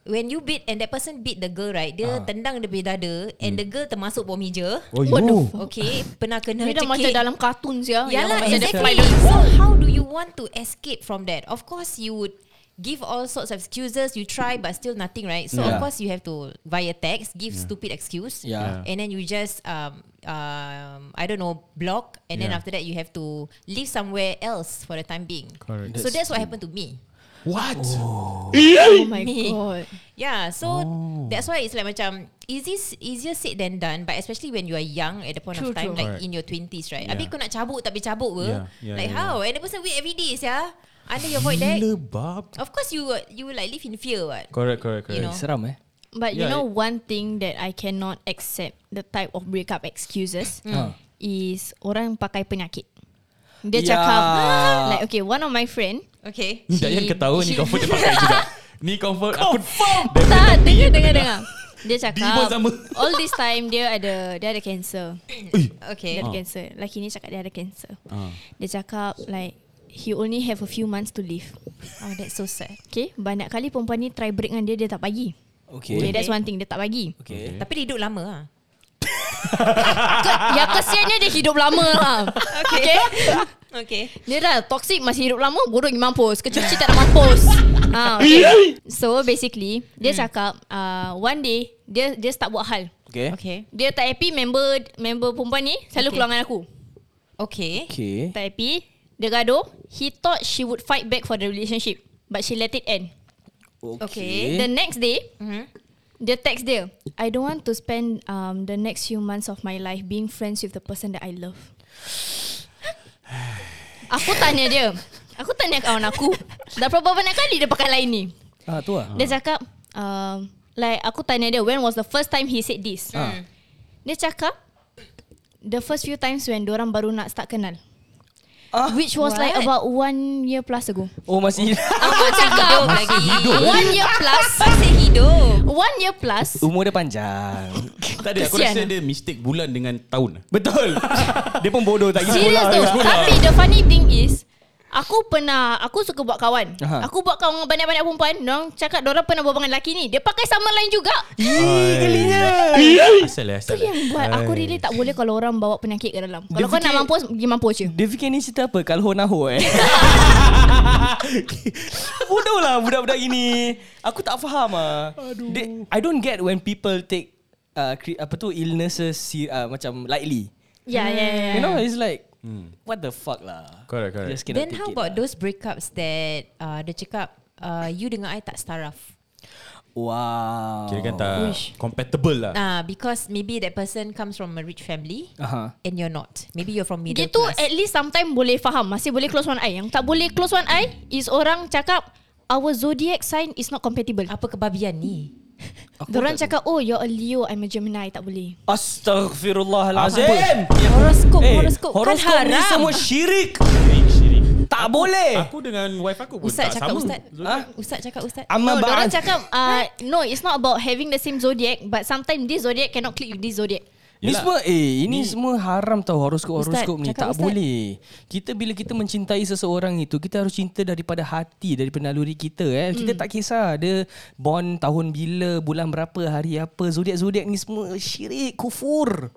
[SPEAKER 6] When you beat And that person beat the girl
[SPEAKER 2] Ah.
[SPEAKER 6] right Dia tendang dia punya dada And
[SPEAKER 2] Hmm.
[SPEAKER 6] the girl termasuk bawah meja
[SPEAKER 2] Oh,
[SPEAKER 3] What the
[SPEAKER 2] you.
[SPEAKER 3] fuck?
[SPEAKER 6] Okay Pernah kena
[SPEAKER 3] Dia dah macam
[SPEAKER 6] cekik
[SPEAKER 3] dalam kartun sia. yang
[SPEAKER 6] yeah, lah,
[SPEAKER 3] macam dia
[SPEAKER 6] exactly.
[SPEAKER 3] fight the-
[SPEAKER 6] So how do you want to escape from that? Of course, you would give all sorts of excuses. You try, but still nothing, right? So
[SPEAKER 4] Yeah.
[SPEAKER 6] of course, you have to via text give stupid excuse,
[SPEAKER 4] Yeah.
[SPEAKER 6] and then you just um um I don't know block, and then
[SPEAKER 2] Yeah.
[SPEAKER 6] after that you have to live somewhere else for the time being.
[SPEAKER 2] Correct.
[SPEAKER 6] So that's what happened to me.
[SPEAKER 2] What?
[SPEAKER 3] Oh my
[SPEAKER 6] Me.
[SPEAKER 3] god.
[SPEAKER 6] Yeah, so that's why it's like macam easy easier said than done. But especially when you are young at the point
[SPEAKER 3] True,
[SPEAKER 6] of time,
[SPEAKER 3] true.
[SPEAKER 6] like
[SPEAKER 2] Correct.
[SPEAKER 6] in your twenties, right?
[SPEAKER 2] Yeah.
[SPEAKER 6] Abi kau nak cabut tak boleh cabut ke?
[SPEAKER 2] Yeah, yeah,
[SPEAKER 6] like
[SPEAKER 2] yeah,
[SPEAKER 6] how? And the person wait every day, yeah. Under your void deck.
[SPEAKER 2] Gila bab.
[SPEAKER 6] Of course, you will- you will like live in fear, what?
[SPEAKER 2] Correct, correct, correct.
[SPEAKER 6] You know.
[SPEAKER 4] Seram eh
[SPEAKER 3] But you
[SPEAKER 2] Yeah,
[SPEAKER 3] know
[SPEAKER 2] it-
[SPEAKER 3] one thing that I cannot accept the type of breakup excuses
[SPEAKER 2] Mm.
[SPEAKER 4] Ah.
[SPEAKER 3] is orang pakai penyakit. Dia
[SPEAKER 4] Yeah.
[SPEAKER 3] cakap like okay one of my friend
[SPEAKER 6] Okay.
[SPEAKER 2] Ni Dayan ketawa
[SPEAKER 3] She-
[SPEAKER 2] ni confirm dia pakai juga. Ni confirm aku
[SPEAKER 3] tak dengar dengar dengar. Dia
[SPEAKER 2] Dia pun
[SPEAKER 3] cakap
[SPEAKER 2] sama.
[SPEAKER 3] all this time dia ada dia ada cancer.
[SPEAKER 6] Okay.
[SPEAKER 3] Dia ada cancer. Laki ni cakap dia ada cancer.
[SPEAKER 2] Ah.
[SPEAKER 3] Dia cakap like he only have a few months to live.
[SPEAKER 6] Oh, that's so sad.
[SPEAKER 3] Okay, banyak kali perempuan ni try break dengan dia dia tak bagi. Okay,
[SPEAKER 4] Okay
[SPEAKER 3] that's one thing dia tak bagi.
[SPEAKER 4] Okay
[SPEAKER 6] Tapi dia hidup lama ah.
[SPEAKER 3] Yang kesiannya dia hidup lama lah.
[SPEAKER 6] Okay.
[SPEAKER 3] okay.
[SPEAKER 6] okay.
[SPEAKER 3] Dia dah toxic masih hidup lama bodoh pergi mampus. Kecil-kecil tak nak mampus. ha, okay. So basically dia cakap uh, one day dia dia start buat hal.
[SPEAKER 4] Okay
[SPEAKER 6] Okay.
[SPEAKER 3] Dia tak happy member member perempuan ni selalu okay.
[SPEAKER 6] Okay.
[SPEAKER 3] keluar dengan aku.
[SPEAKER 6] Okay.
[SPEAKER 4] Okay
[SPEAKER 3] Tak happy. Dia gaduh. He thought she would fight back for the relationship. But she let it end.
[SPEAKER 6] Okay.
[SPEAKER 3] The
[SPEAKER 4] Eh?
[SPEAKER 3] next day,
[SPEAKER 6] Mhm.
[SPEAKER 3] dia text dia. I don't want to spend um, the next few months of my life being friends with the person that I love. aku tanya dia. Aku tanya kawan aku. Dah berapa banyak kali dia pakai line ni?
[SPEAKER 4] Ah tu lah
[SPEAKER 3] Dia cakap, um, like aku tanya dia, when was the first time he said this?
[SPEAKER 4] Ah.
[SPEAKER 3] Dia cakap, the first few times when orang baru nak start kenal.
[SPEAKER 4] Ah.
[SPEAKER 3] Which was like
[SPEAKER 6] What?
[SPEAKER 3] about one year plus ago.
[SPEAKER 4] Oh masih
[SPEAKER 6] Aku cakap lagi.
[SPEAKER 3] One year plus.
[SPEAKER 6] Masih hidup.
[SPEAKER 3] One year plus.
[SPEAKER 4] Umur dia panjang
[SPEAKER 2] Tak ada aku
[SPEAKER 3] Kesian
[SPEAKER 2] rasa
[SPEAKER 3] lah.
[SPEAKER 2] dia mistake bulan dengan tahun.
[SPEAKER 4] Betul Dia pun bodoh tak pergi
[SPEAKER 3] Serius
[SPEAKER 4] sekolah
[SPEAKER 3] tu Tapi the funny thing is Aku pernah Aku suka buat kawan
[SPEAKER 4] Aha.
[SPEAKER 3] Aku buat kawan dengan banyak-banyak perempuan Diorang cakap Diorang pernah buat dengan lelaki ni Dia pakai sama lain juga
[SPEAKER 4] Ih gelinya
[SPEAKER 2] Asal lah,
[SPEAKER 3] Itu
[SPEAKER 2] asal. lah.
[SPEAKER 3] yang buat Aku really tak boleh Kalau orang bawa penyakit ke dalam Kalau kau nak
[SPEAKER 4] fikir-
[SPEAKER 3] mampus Pergi mampus je
[SPEAKER 4] Dia fikir ni cerita apa Kalho naho eh Bodoh lah budak-budak gini Aku tak faham ah. They, I don't get when people take uh, cre- apa tu illnesses si- uh, macam lightly.
[SPEAKER 3] Ya ya ya
[SPEAKER 4] You know it's like what the fuck lah.
[SPEAKER 2] Hmm. Correct, correct.
[SPEAKER 4] Just cannot
[SPEAKER 6] Then
[SPEAKER 4] take
[SPEAKER 6] how
[SPEAKER 4] it
[SPEAKER 6] about
[SPEAKER 4] lah.
[SPEAKER 6] those breakups that uh, dia cakap uh, you dengan I tak setaraf?
[SPEAKER 4] Wow.
[SPEAKER 2] Kira kan tak compatible lah.
[SPEAKER 6] Uh, because maybe that person comes from a rich family
[SPEAKER 4] Aha.
[SPEAKER 6] and you're not. Maybe you're from middle
[SPEAKER 3] Dia tu
[SPEAKER 6] class.
[SPEAKER 3] at least sometime boleh faham Masih boleh close one eye Yang tak boleh close one eye Is orang cakap Our zodiac sign is not compatible
[SPEAKER 6] Apa kebabian ni?
[SPEAKER 3] Diorang cakap Oh you're a Leo I'm a Gemini Tak boleh
[SPEAKER 4] Astaghfirullahalazim.
[SPEAKER 6] Horoskop,
[SPEAKER 4] Eh,
[SPEAKER 6] horoskop,
[SPEAKER 4] horoskop
[SPEAKER 6] kan
[SPEAKER 4] ni
[SPEAKER 6] haram.
[SPEAKER 4] semua syirik.
[SPEAKER 2] Syirik, syirik.
[SPEAKER 4] Tak boleh.
[SPEAKER 2] Aku dengan wife aku pun
[SPEAKER 6] Ustaz
[SPEAKER 2] tak
[SPEAKER 6] cakap
[SPEAKER 2] sama.
[SPEAKER 6] Ustaz.
[SPEAKER 2] Zul-
[SPEAKER 6] Huh? Ustaz cakap Ustaz.
[SPEAKER 4] Amma
[SPEAKER 3] No, diorang
[SPEAKER 4] ba'an.
[SPEAKER 3] cakap uh, No, it's not about having the same zodiac But sometimes this zodiac cannot click with this zodiac
[SPEAKER 4] Ni
[SPEAKER 2] Yelah.
[SPEAKER 4] semua eh ini semua haram tau horoskop-horoskop
[SPEAKER 6] Ustaz,
[SPEAKER 4] ni
[SPEAKER 6] cakap
[SPEAKER 4] tak
[SPEAKER 6] Ustaz.
[SPEAKER 4] boleh. Kita bila kita mencintai seseorang itu kita harus cinta daripada hati daripada naluri kita eh.
[SPEAKER 6] Hmm.
[SPEAKER 4] Kita tak kisah dia born tahun bila, bulan berapa, hari apa, zodiak-zodiak ni semua syirik, kufur.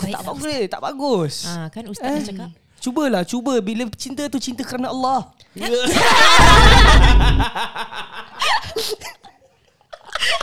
[SPEAKER 4] tak bagus, tak bagus.
[SPEAKER 6] Ah, kan Ustaz
[SPEAKER 2] Eh.
[SPEAKER 6] dah cakap.
[SPEAKER 4] Eh, Cubalah, cuba bila cinta tu cinta kerana Allah.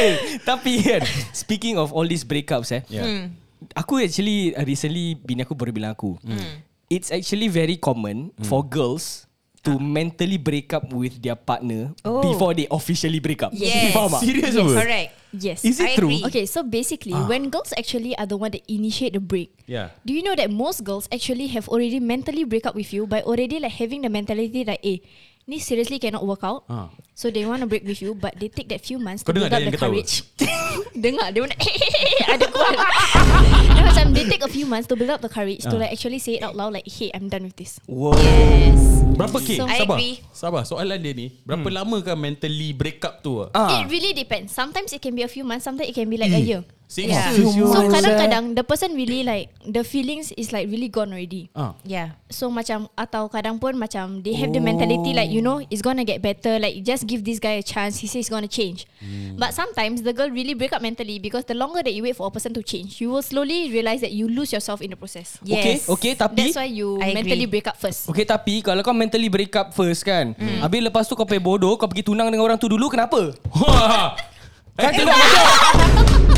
[SPEAKER 4] eh, tapi kan speaking of all these breakups eh.
[SPEAKER 2] Yeah.
[SPEAKER 4] Aku actually uh, recently bini aku baru bilang aku.
[SPEAKER 6] Hmm.
[SPEAKER 4] Hmm. It's actually very common for girls to mentally break up with their partner
[SPEAKER 6] Ah. Oh.
[SPEAKER 4] before they officially break up.
[SPEAKER 6] Yes.
[SPEAKER 4] Faham tak?
[SPEAKER 2] Serious
[SPEAKER 6] Yes,
[SPEAKER 2] apa?
[SPEAKER 6] correct.
[SPEAKER 3] Yes
[SPEAKER 4] Is it
[SPEAKER 6] I
[SPEAKER 4] true?
[SPEAKER 6] agree.
[SPEAKER 3] Okay, so basically
[SPEAKER 6] Ah.
[SPEAKER 3] When girls actually are the one that initiate the break
[SPEAKER 2] Yeah.
[SPEAKER 3] Do you know that most girls actually have already mentally break up with you By already like having the mentality like Eh, ni seriously cannot work out
[SPEAKER 2] Ah.
[SPEAKER 3] So they want to break with you But they take that few months To
[SPEAKER 2] Kau
[SPEAKER 3] build
[SPEAKER 2] dengar
[SPEAKER 3] up
[SPEAKER 2] dia
[SPEAKER 3] the
[SPEAKER 2] yang ketawa?
[SPEAKER 3] courage Dengar dia macam Ada kuat Dia macam They take a few months To build up the courage To
[SPEAKER 2] Ah.
[SPEAKER 3] like actually say it out loud Like hey, I'm done with this
[SPEAKER 4] Wow.
[SPEAKER 6] Yes.
[SPEAKER 2] Berapa K?
[SPEAKER 3] So-
[SPEAKER 6] I
[SPEAKER 2] Sabar.
[SPEAKER 6] agree.
[SPEAKER 2] Sabar. Soalan dia ni, berapa lama kan mentally break up tu? ah? Eh.
[SPEAKER 4] Ah.
[SPEAKER 3] It really depends. Sometimes it can be a few months, sometimes it can be like a year.
[SPEAKER 2] Six
[SPEAKER 6] Yeah.
[SPEAKER 2] years, yo.
[SPEAKER 3] So kadang-kadang the person really like the feelings is like really gone already.
[SPEAKER 2] Ah.
[SPEAKER 6] Yeah.
[SPEAKER 3] So macam atau kadang pun macam they have the mentality like you know it's gonna get better like just give this guy a chance he says he's gonna change.
[SPEAKER 4] Hmm.
[SPEAKER 3] But sometimes the girl really break up mentally because the longer that you wait for a person to change, you will slowly realize that you lose yourself in the process.
[SPEAKER 6] Yes.
[SPEAKER 4] Okay, okay tapi
[SPEAKER 3] That's why you
[SPEAKER 6] I agree.
[SPEAKER 3] mentally break up first.
[SPEAKER 4] Okay tapi kalau kau mentally break up first kan mm. Habis lepas tu kau
[SPEAKER 2] Ha,
[SPEAKER 4] pergi bodoh Kau pergi tunang dengan orang tu dulu kenapa?
[SPEAKER 2] Wah.
[SPEAKER 4] Kan tengok macam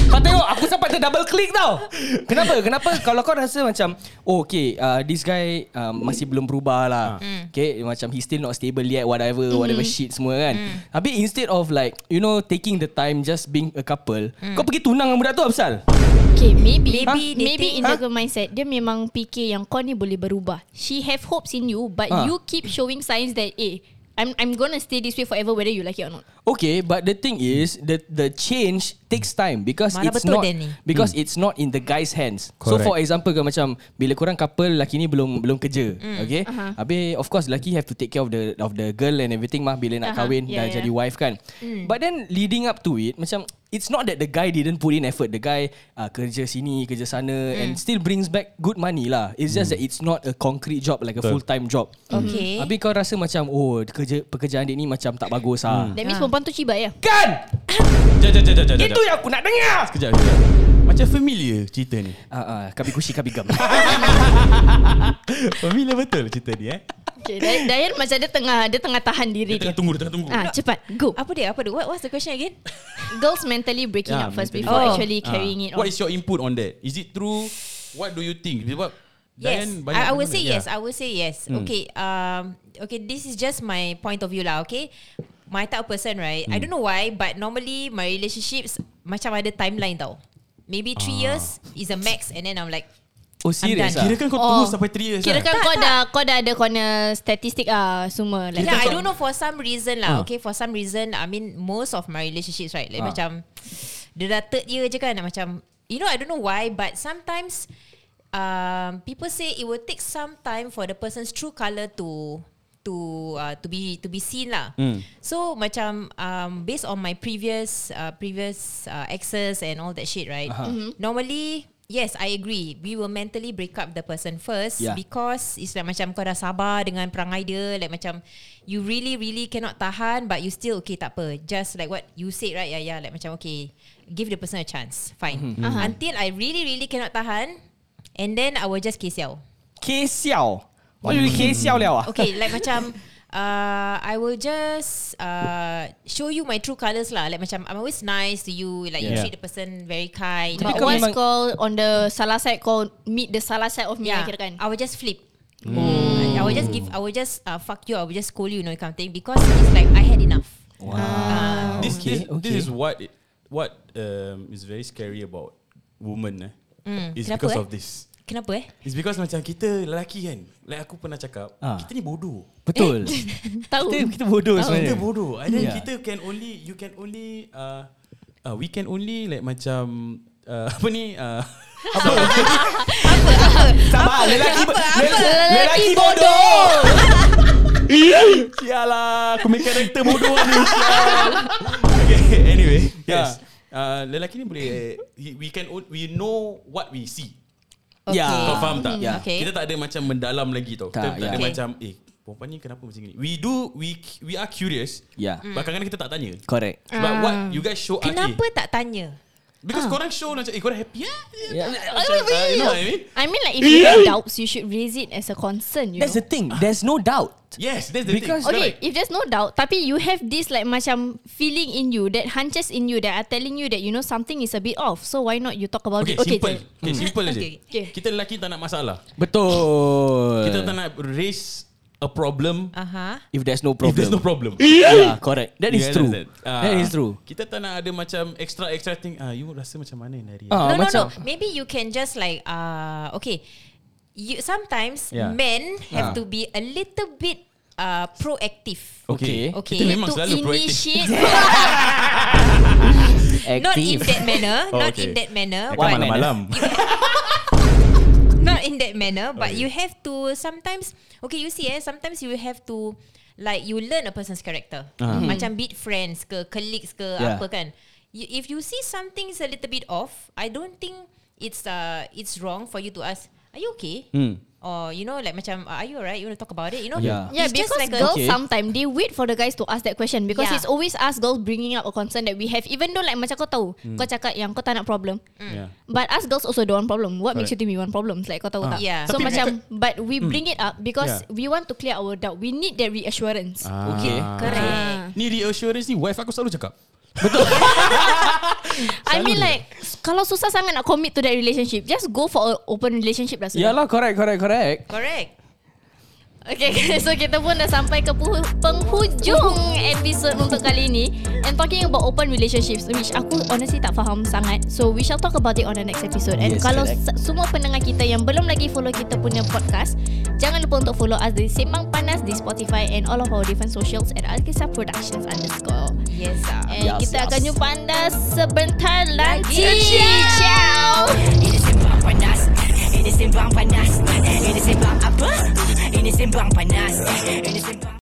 [SPEAKER 4] Kau tengok aku sampai ter double click tau. Kenapa? Kenapa kalau kau rasa macam oh okay uh, this guy uh, masih belum berubah lah. Okay macam he still not stable yet whatever whatever shit semua kan. Tapi instead of like you know taking the time just being a couple, kau pergi tunang dengan budak tu Absal.
[SPEAKER 3] Okay, maybe
[SPEAKER 6] Maybe
[SPEAKER 3] maybe,
[SPEAKER 6] they
[SPEAKER 3] maybe
[SPEAKER 6] think-
[SPEAKER 3] in the girl mindset dia memang fikir yang kau ni boleh berubah. She have hopes in you, but
[SPEAKER 4] Ah.
[SPEAKER 3] you keep showing signs that eh, I'm I'm gonna stay this way forever whether you like it or not.
[SPEAKER 4] Okay, but the thing is the the change takes time because
[SPEAKER 6] Mana
[SPEAKER 4] it's
[SPEAKER 6] betul
[SPEAKER 4] not
[SPEAKER 6] dia ni?
[SPEAKER 4] because it's not in the guy's hands. So
[SPEAKER 2] Hmm. Correct.
[SPEAKER 4] for example kalau macam bila korang couple lelaki ni belum belum kerja, okay?
[SPEAKER 3] Aha.
[SPEAKER 4] Habis of course lelaki have to take care of the of the girl and everything mah bila nak
[SPEAKER 3] Aha,
[SPEAKER 4] kahwin dah
[SPEAKER 3] yeah, yeah.
[SPEAKER 4] jadi wife kan. But then leading up to it macam it's not that the guy didn't put in effort. The guy uh, kerja sini, kerja sana and still brings back good money lah. It's just that it's not a concrete job like a
[SPEAKER 2] Hmm. Betul.
[SPEAKER 4] full-time job.
[SPEAKER 6] Okay.
[SPEAKER 4] Habis kau rasa macam oh kerja pekerjaan dia ni macam tak bagus ah.
[SPEAKER 2] Hmm.
[SPEAKER 3] That means perempuan tu cibai ya.
[SPEAKER 4] Kan?
[SPEAKER 2] Jap, jap, jap, jap, jap, jap.
[SPEAKER 4] yang aku nak dengar.
[SPEAKER 2] Kejap, kejap. Macam familiar cerita ni.
[SPEAKER 4] Ah, ah, kabi kushi kabi gam.
[SPEAKER 2] Familiar betul cerita ni eh.
[SPEAKER 3] Okay, Day- Dayan macam dia tengah dia tengah tahan diri
[SPEAKER 2] Dia
[SPEAKER 3] dia.
[SPEAKER 2] tengah tunggu, dia tengah tunggu.
[SPEAKER 3] Ah, cepat. Go.
[SPEAKER 6] Apa dia? Apa dia? What, what's the question again?
[SPEAKER 3] Girls mentally breaking
[SPEAKER 2] Yeah,
[SPEAKER 3] up first
[SPEAKER 2] mentally.
[SPEAKER 3] before
[SPEAKER 6] Oh.
[SPEAKER 3] actually
[SPEAKER 2] Ah.
[SPEAKER 3] carrying it on.
[SPEAKER 2] What is your input on that? Is it true? What do you think? Sebab
[SPEAKER 6] Yes,
[SPEAKER 2] Dian banyak Ya. Hmm.
[SPEAKER 6] I, I would
[SPEAKER 2] benda
[SPEAKER 6] say
[SPEAKER 2] ni.
[SPEAKER 6] yes. I would say yes. Okay, um, okay. This is just my point of view lah. Okay, my type of person, right?
[SPEAKER 2] Hmm.
[SPEAKER 6] I don't know why, but normally my relationships macam ada timeline tau. Maybe three
[SPEAKER 2] Ah.
[SPEAKER 6] years is a max, and then I'm like,
[SPEAKER 4] Oh serious ah.
[SPEAKER 6] done.
[SPEAKER 2] Kira kan kau tunggu sampai 3 years
[SPEAKER 3] Kira kan
[SPEAKER 6] Tak,
[SPEAKER 3] kau
[SPEAKER 6] tak.
[SPEAKER 3] dah kau dah ada corner statistik ah semua like.
[SPEAKER 6] yeah, I
[SPEAKER 3] macam-
[SPEAKER 6] don't know for some reason lah. Okay, for some reason, I mean most of my relationships, right? Like
[SPEAKER 4] Ah.
[SPEAKER 6] macam dia dah third year je kan, macam you know I don't know why, but sometimes um, people say it will take some time for the person's true color to to uh, to be to be seen lah. So macam um, based on my previous uh, previous uh, exes and all that shit, right? Normally. Yes, I agree. We will mentally break up the person first
[SPEAKER 4] Yeah.
[SPEAKER 6] because it's like macam kau dah sabar dengan perangai dia, like macam you really really cannot tahan but you still okay tak apa. Just like what you said right, yeah yeah, like macam okay, give the person a chance. Fine.
[SPEAKER 4] Mm-hmm.
[SPEAKER 6] Until I really really cannot tahan and then I will just kiss you.
[SPEAKER 4] K siao. Why you K siao liao ah?
[SPEAKER 6] Okay, like macam uh, I will just uh, show you my true colors lah. Like macam I'm always nice to you, like you
[SPEAKER 2] Yeah.
[SPEAKER 6] treat the person very kind.
[SPEAKER 3] But
[SPEAKER 4] kau
[SPEAKER 3] once
[SPEAKER 4] memang-
[SPEAKER 3] kau on the salah side kau meet the salah side of me yeah. kira kan.
[SPEAKER 6] Ya. I will just flip.
[SPEAKER 4] Hmm.
[SPEAKER 6] I will just give. I will just uh, fuck you. I will just scold you, you know, kind of thing. Because it's like I had enough. Ah. Uh,
[SPEAKER 4] Wow.
[SPEAKER 2] This,
[SPEAKER 4] Okay,
[SPEAKER 2] this, this
[SPEAKER 4] okay.
[SPEAKER 2] is what it, what um, is very scary about women eh. It's
[SPEAKER 6] Kenapa,
[SPEAKER 2] because
[SPEAKER 6] eh?
[SPEAKER 2] of this.
[SPEAKER 6] Kenapa eh?
[SPEAKER 2] It's because macam kita lelaki kan. Like aku pernah cakap,
[SPEAKER 4] Ah.
[SPEAKER 2] kita ni bodoh.
[SPEAKER 6] Eh,
[SPEAKER 4] Betul.
[SPEAKER 3] Tahu.
[SPEAKER 4] kita kita bodoh
[SPEAKER 2] Kita
[SPEAKER 4] sebenarnya.
[SPEAKER 2] bodoh. And then
[SPEAKER 4] Yeah.
[SPEAKER 2] Oh, yeah. kita can only you can only uh, uh, we can only like macam uh, apa ni uh,
[SPEAKER 4] Sabar lelaki bo- lel- lelaki bodoh.
[SPEAKER 2] Sialah Ah, Aku main karakter bodoh ni sial. Okay anyway Yes uh, Lelaki ni boleh he- We can o- We know What we see
[SPEAKER 4] Ya.
[SPEAKER 2] Kau faham tak
[SPEAKER 4] Yeah.
[SPEAKER 6] Okay.
[SPEAKER 2] Kita tak ada macam Mendalam lagi tau Kita
[SPEAKER 4] Tak,
[SPEAKER 2] tak ada
[SPEAKER 4] yeah.
[SPEAKER 2] macam Eh perempuan ni kenapa macam ni We do We we are curious
[SPEAKER 4] Yeah.
[SPEAKER 6] Hmm.
[SPEAKER 2] But kadang-kadang kita tak tanya
[SPEAKER 4] Ya. Correct.
[SPEAKER 6] Ah.
[SPEAKER 2] Sebab what You guys show us
[SPEAKER 6] Kenapa
[SPEAKER 2] eh,
[SPEAKER 6] tak tanya?
[SPEAKER 2] Because korang show macam Eh korang happy eh
[SPEAKER 4] Yeah.
[SPEAKER 2] Macam, uh, You know what I mean
[SPEAKER 3] I mean like if you have doubts you should raise it as a concern you
[SPEAKER 4] That's the
[SPEAKER 3] know.
[SPEAKER 4] thing. There's no doubt.
[SPEAKER 2] Yes that's the
[SPEAKER 4] Because-
[SPEAKER 2] thing
[SPEAKER 3] Okay, if there's no doubt tapi you have this like macam feeling in you that hunches in you that are telling you that you know something is a bit off. So why not you talk about
[SPEAKER 2] Okay,
[SPEAKER 3] it?
[SPEAKER 2] okay simple Okay simple aja
[SPEAKER 6] Okay.
[SPEAKER 3] Okay.
[SPEAKER 2] Kita lelaki tak nak masalah
[SPEAKER 4] Betul.
[SPEAKER 2] Kita tak nak raise A problem
[SPEAKER 6] Aha. Uh-huh.
[SPEAKER 4] If there's no
[SPEAKER 2] If
[SPEAKER 4] problem.
[SPEAKER 2] there's no problem
[SPEAKER 4] Yeah, correct. That is
[SPEAKER 2] You
[SPEAKER 4] true.
[SPEAKER 2] understand? Ah.
[SPEAKER 4] That is true.
[SPEAKER 2] Kita tak nak ada macam extra extra thing. Ah, you rasa macam mana ni hari?
[SPEAKER 4] Ah,
[SPEAKER 6] No, no, no.
[SPEAKER 4] macam
[SPEAKER 6] Maybe you can just like uh okay. You sometimes
[SPEAKER 2] Yeah.
[SPEAKER 6] men
[SPEAKER 4] Ah.
[SPEAKER 6] have to be a little bit uh proactive.
[SPEAKER 4] Okay.
[SPEAKER 2] Kita
[SPEAKER 6] Okay.
[SPEAKER 2] memang
[SPEAKER 3] To
[SPEAKER 2] selalu proaktif.
[SPEAKER 3] initiate
[SPEAKER 6] Not in
[SPEAKER 4] active.
[SPEAKER 6] that manner.
[SPEAKER 2] Oh,
[SPEAKER 6] not
[SPEAKER 2] okay.
[SPEAKER 6] in that manner.
[SPEAKER 2] Kan
[SPEAKER 4] Why?
[SPEAKER 6] but-
[SPEAKER 2] malam-malam.
[SPEAKER 6] not in that manner but you have to sometimes okay you see eh sometimes you have to like you learn a person's character macam be it friends ke colleagues
[SPEAKER 4] Ah.
[SPEAKER 6] ke
[SPEAKER 4] Mm-hmm. Yeah.
[SPEAKER 6] apa kan you, if you see something's a little bit off I don't think it's uh it's wrong for you to ask are you okay or you know like macam are you alright you want to talk about it you know
[SPEAKER 4] Hmm. Yeah.
[SPEAKER 3] Yeah,
[SPEAKER 6] It's
[SPEAKER 3] because
[SPEAKER 6] just like a-
[SPEAKER 3] girls
[SPEAKER 4] Okay.
[SPEAKER 3] sometimes they wait for the guys to ask that question because
[SPEAKER 6] Yeah.
[SPEAKER 3] it's always us girls bringing up a concern that we have. Even though like macam kau tahu, kau cakap yang kau tak nak problem.
[SPEAKER 2] Yeah.
[SPEAKER 3] But us girls also don't want problem. What makes you think
[SPEAKER 2] Correct.
[SPEAKER 3] we want problems? Like kau tahu
[SPEAKER 6] Ah.
[SPEAKER 3] tak?
[SPEAKER 6] Yeah.
[SPEAKER 3] So
[SPEAKER 6] Tapi
[SPEAKER 3] macam but we bring it up because
[SPEAKER 2] Yeah.
[SPEAKER 3] we want to clear
[SPEAKER 4] Ah,
[SPEAKER 3] our doubt. We need that reassurance.
[SPEAKER 4] Okay.
[SPEAKER 2] Ah.
[SPEAKER 6] correct
[SPEAKER 2] Ni reassurance ni wife aku selalu cakap.
[SPEAKER 3] I mean like s- Kalau susah sangat nak commit to that relationship Just go for an open relationship lah sudah.
[SPEAKER 4] Yalah correct correct correct
[SPEAKER 6] Correct.
[SPEAKER 3] Okay so kita pun dah sampai ke pu- penghujung episode untuk kali ini And talking about open relationships Which aku honestly tak faham sangat So we shall talk about it on the next episode And
[SPEAKER 4] Yes,
[SPEAKER 3] kalau
[SPEAKER 4] correct.
[SPEAKER 3] se- semua pendengar kita yang belum lagi follow kita punya podcast Jangan lupa untuk follow us di Sembang Panas di Spotify And all of our different socials at Alkisah Productions underscore
[SPEAKER 6] Yes. ah.
[SPEAKER 3] And
[SPEAKER 4] Yes,
[SPEAKER 3] kita
[SPEAKER 4] yes.
[SPEAKER 3] akan jumpa anda sebentar lagi.
[SPEAKER 6] Lagi.
[SPEAKER 3] Ciao.
[SPEAKER 5] Ini sembang panas Ini sembang panas Ini sembang apa Ini sembang panas Ini sembang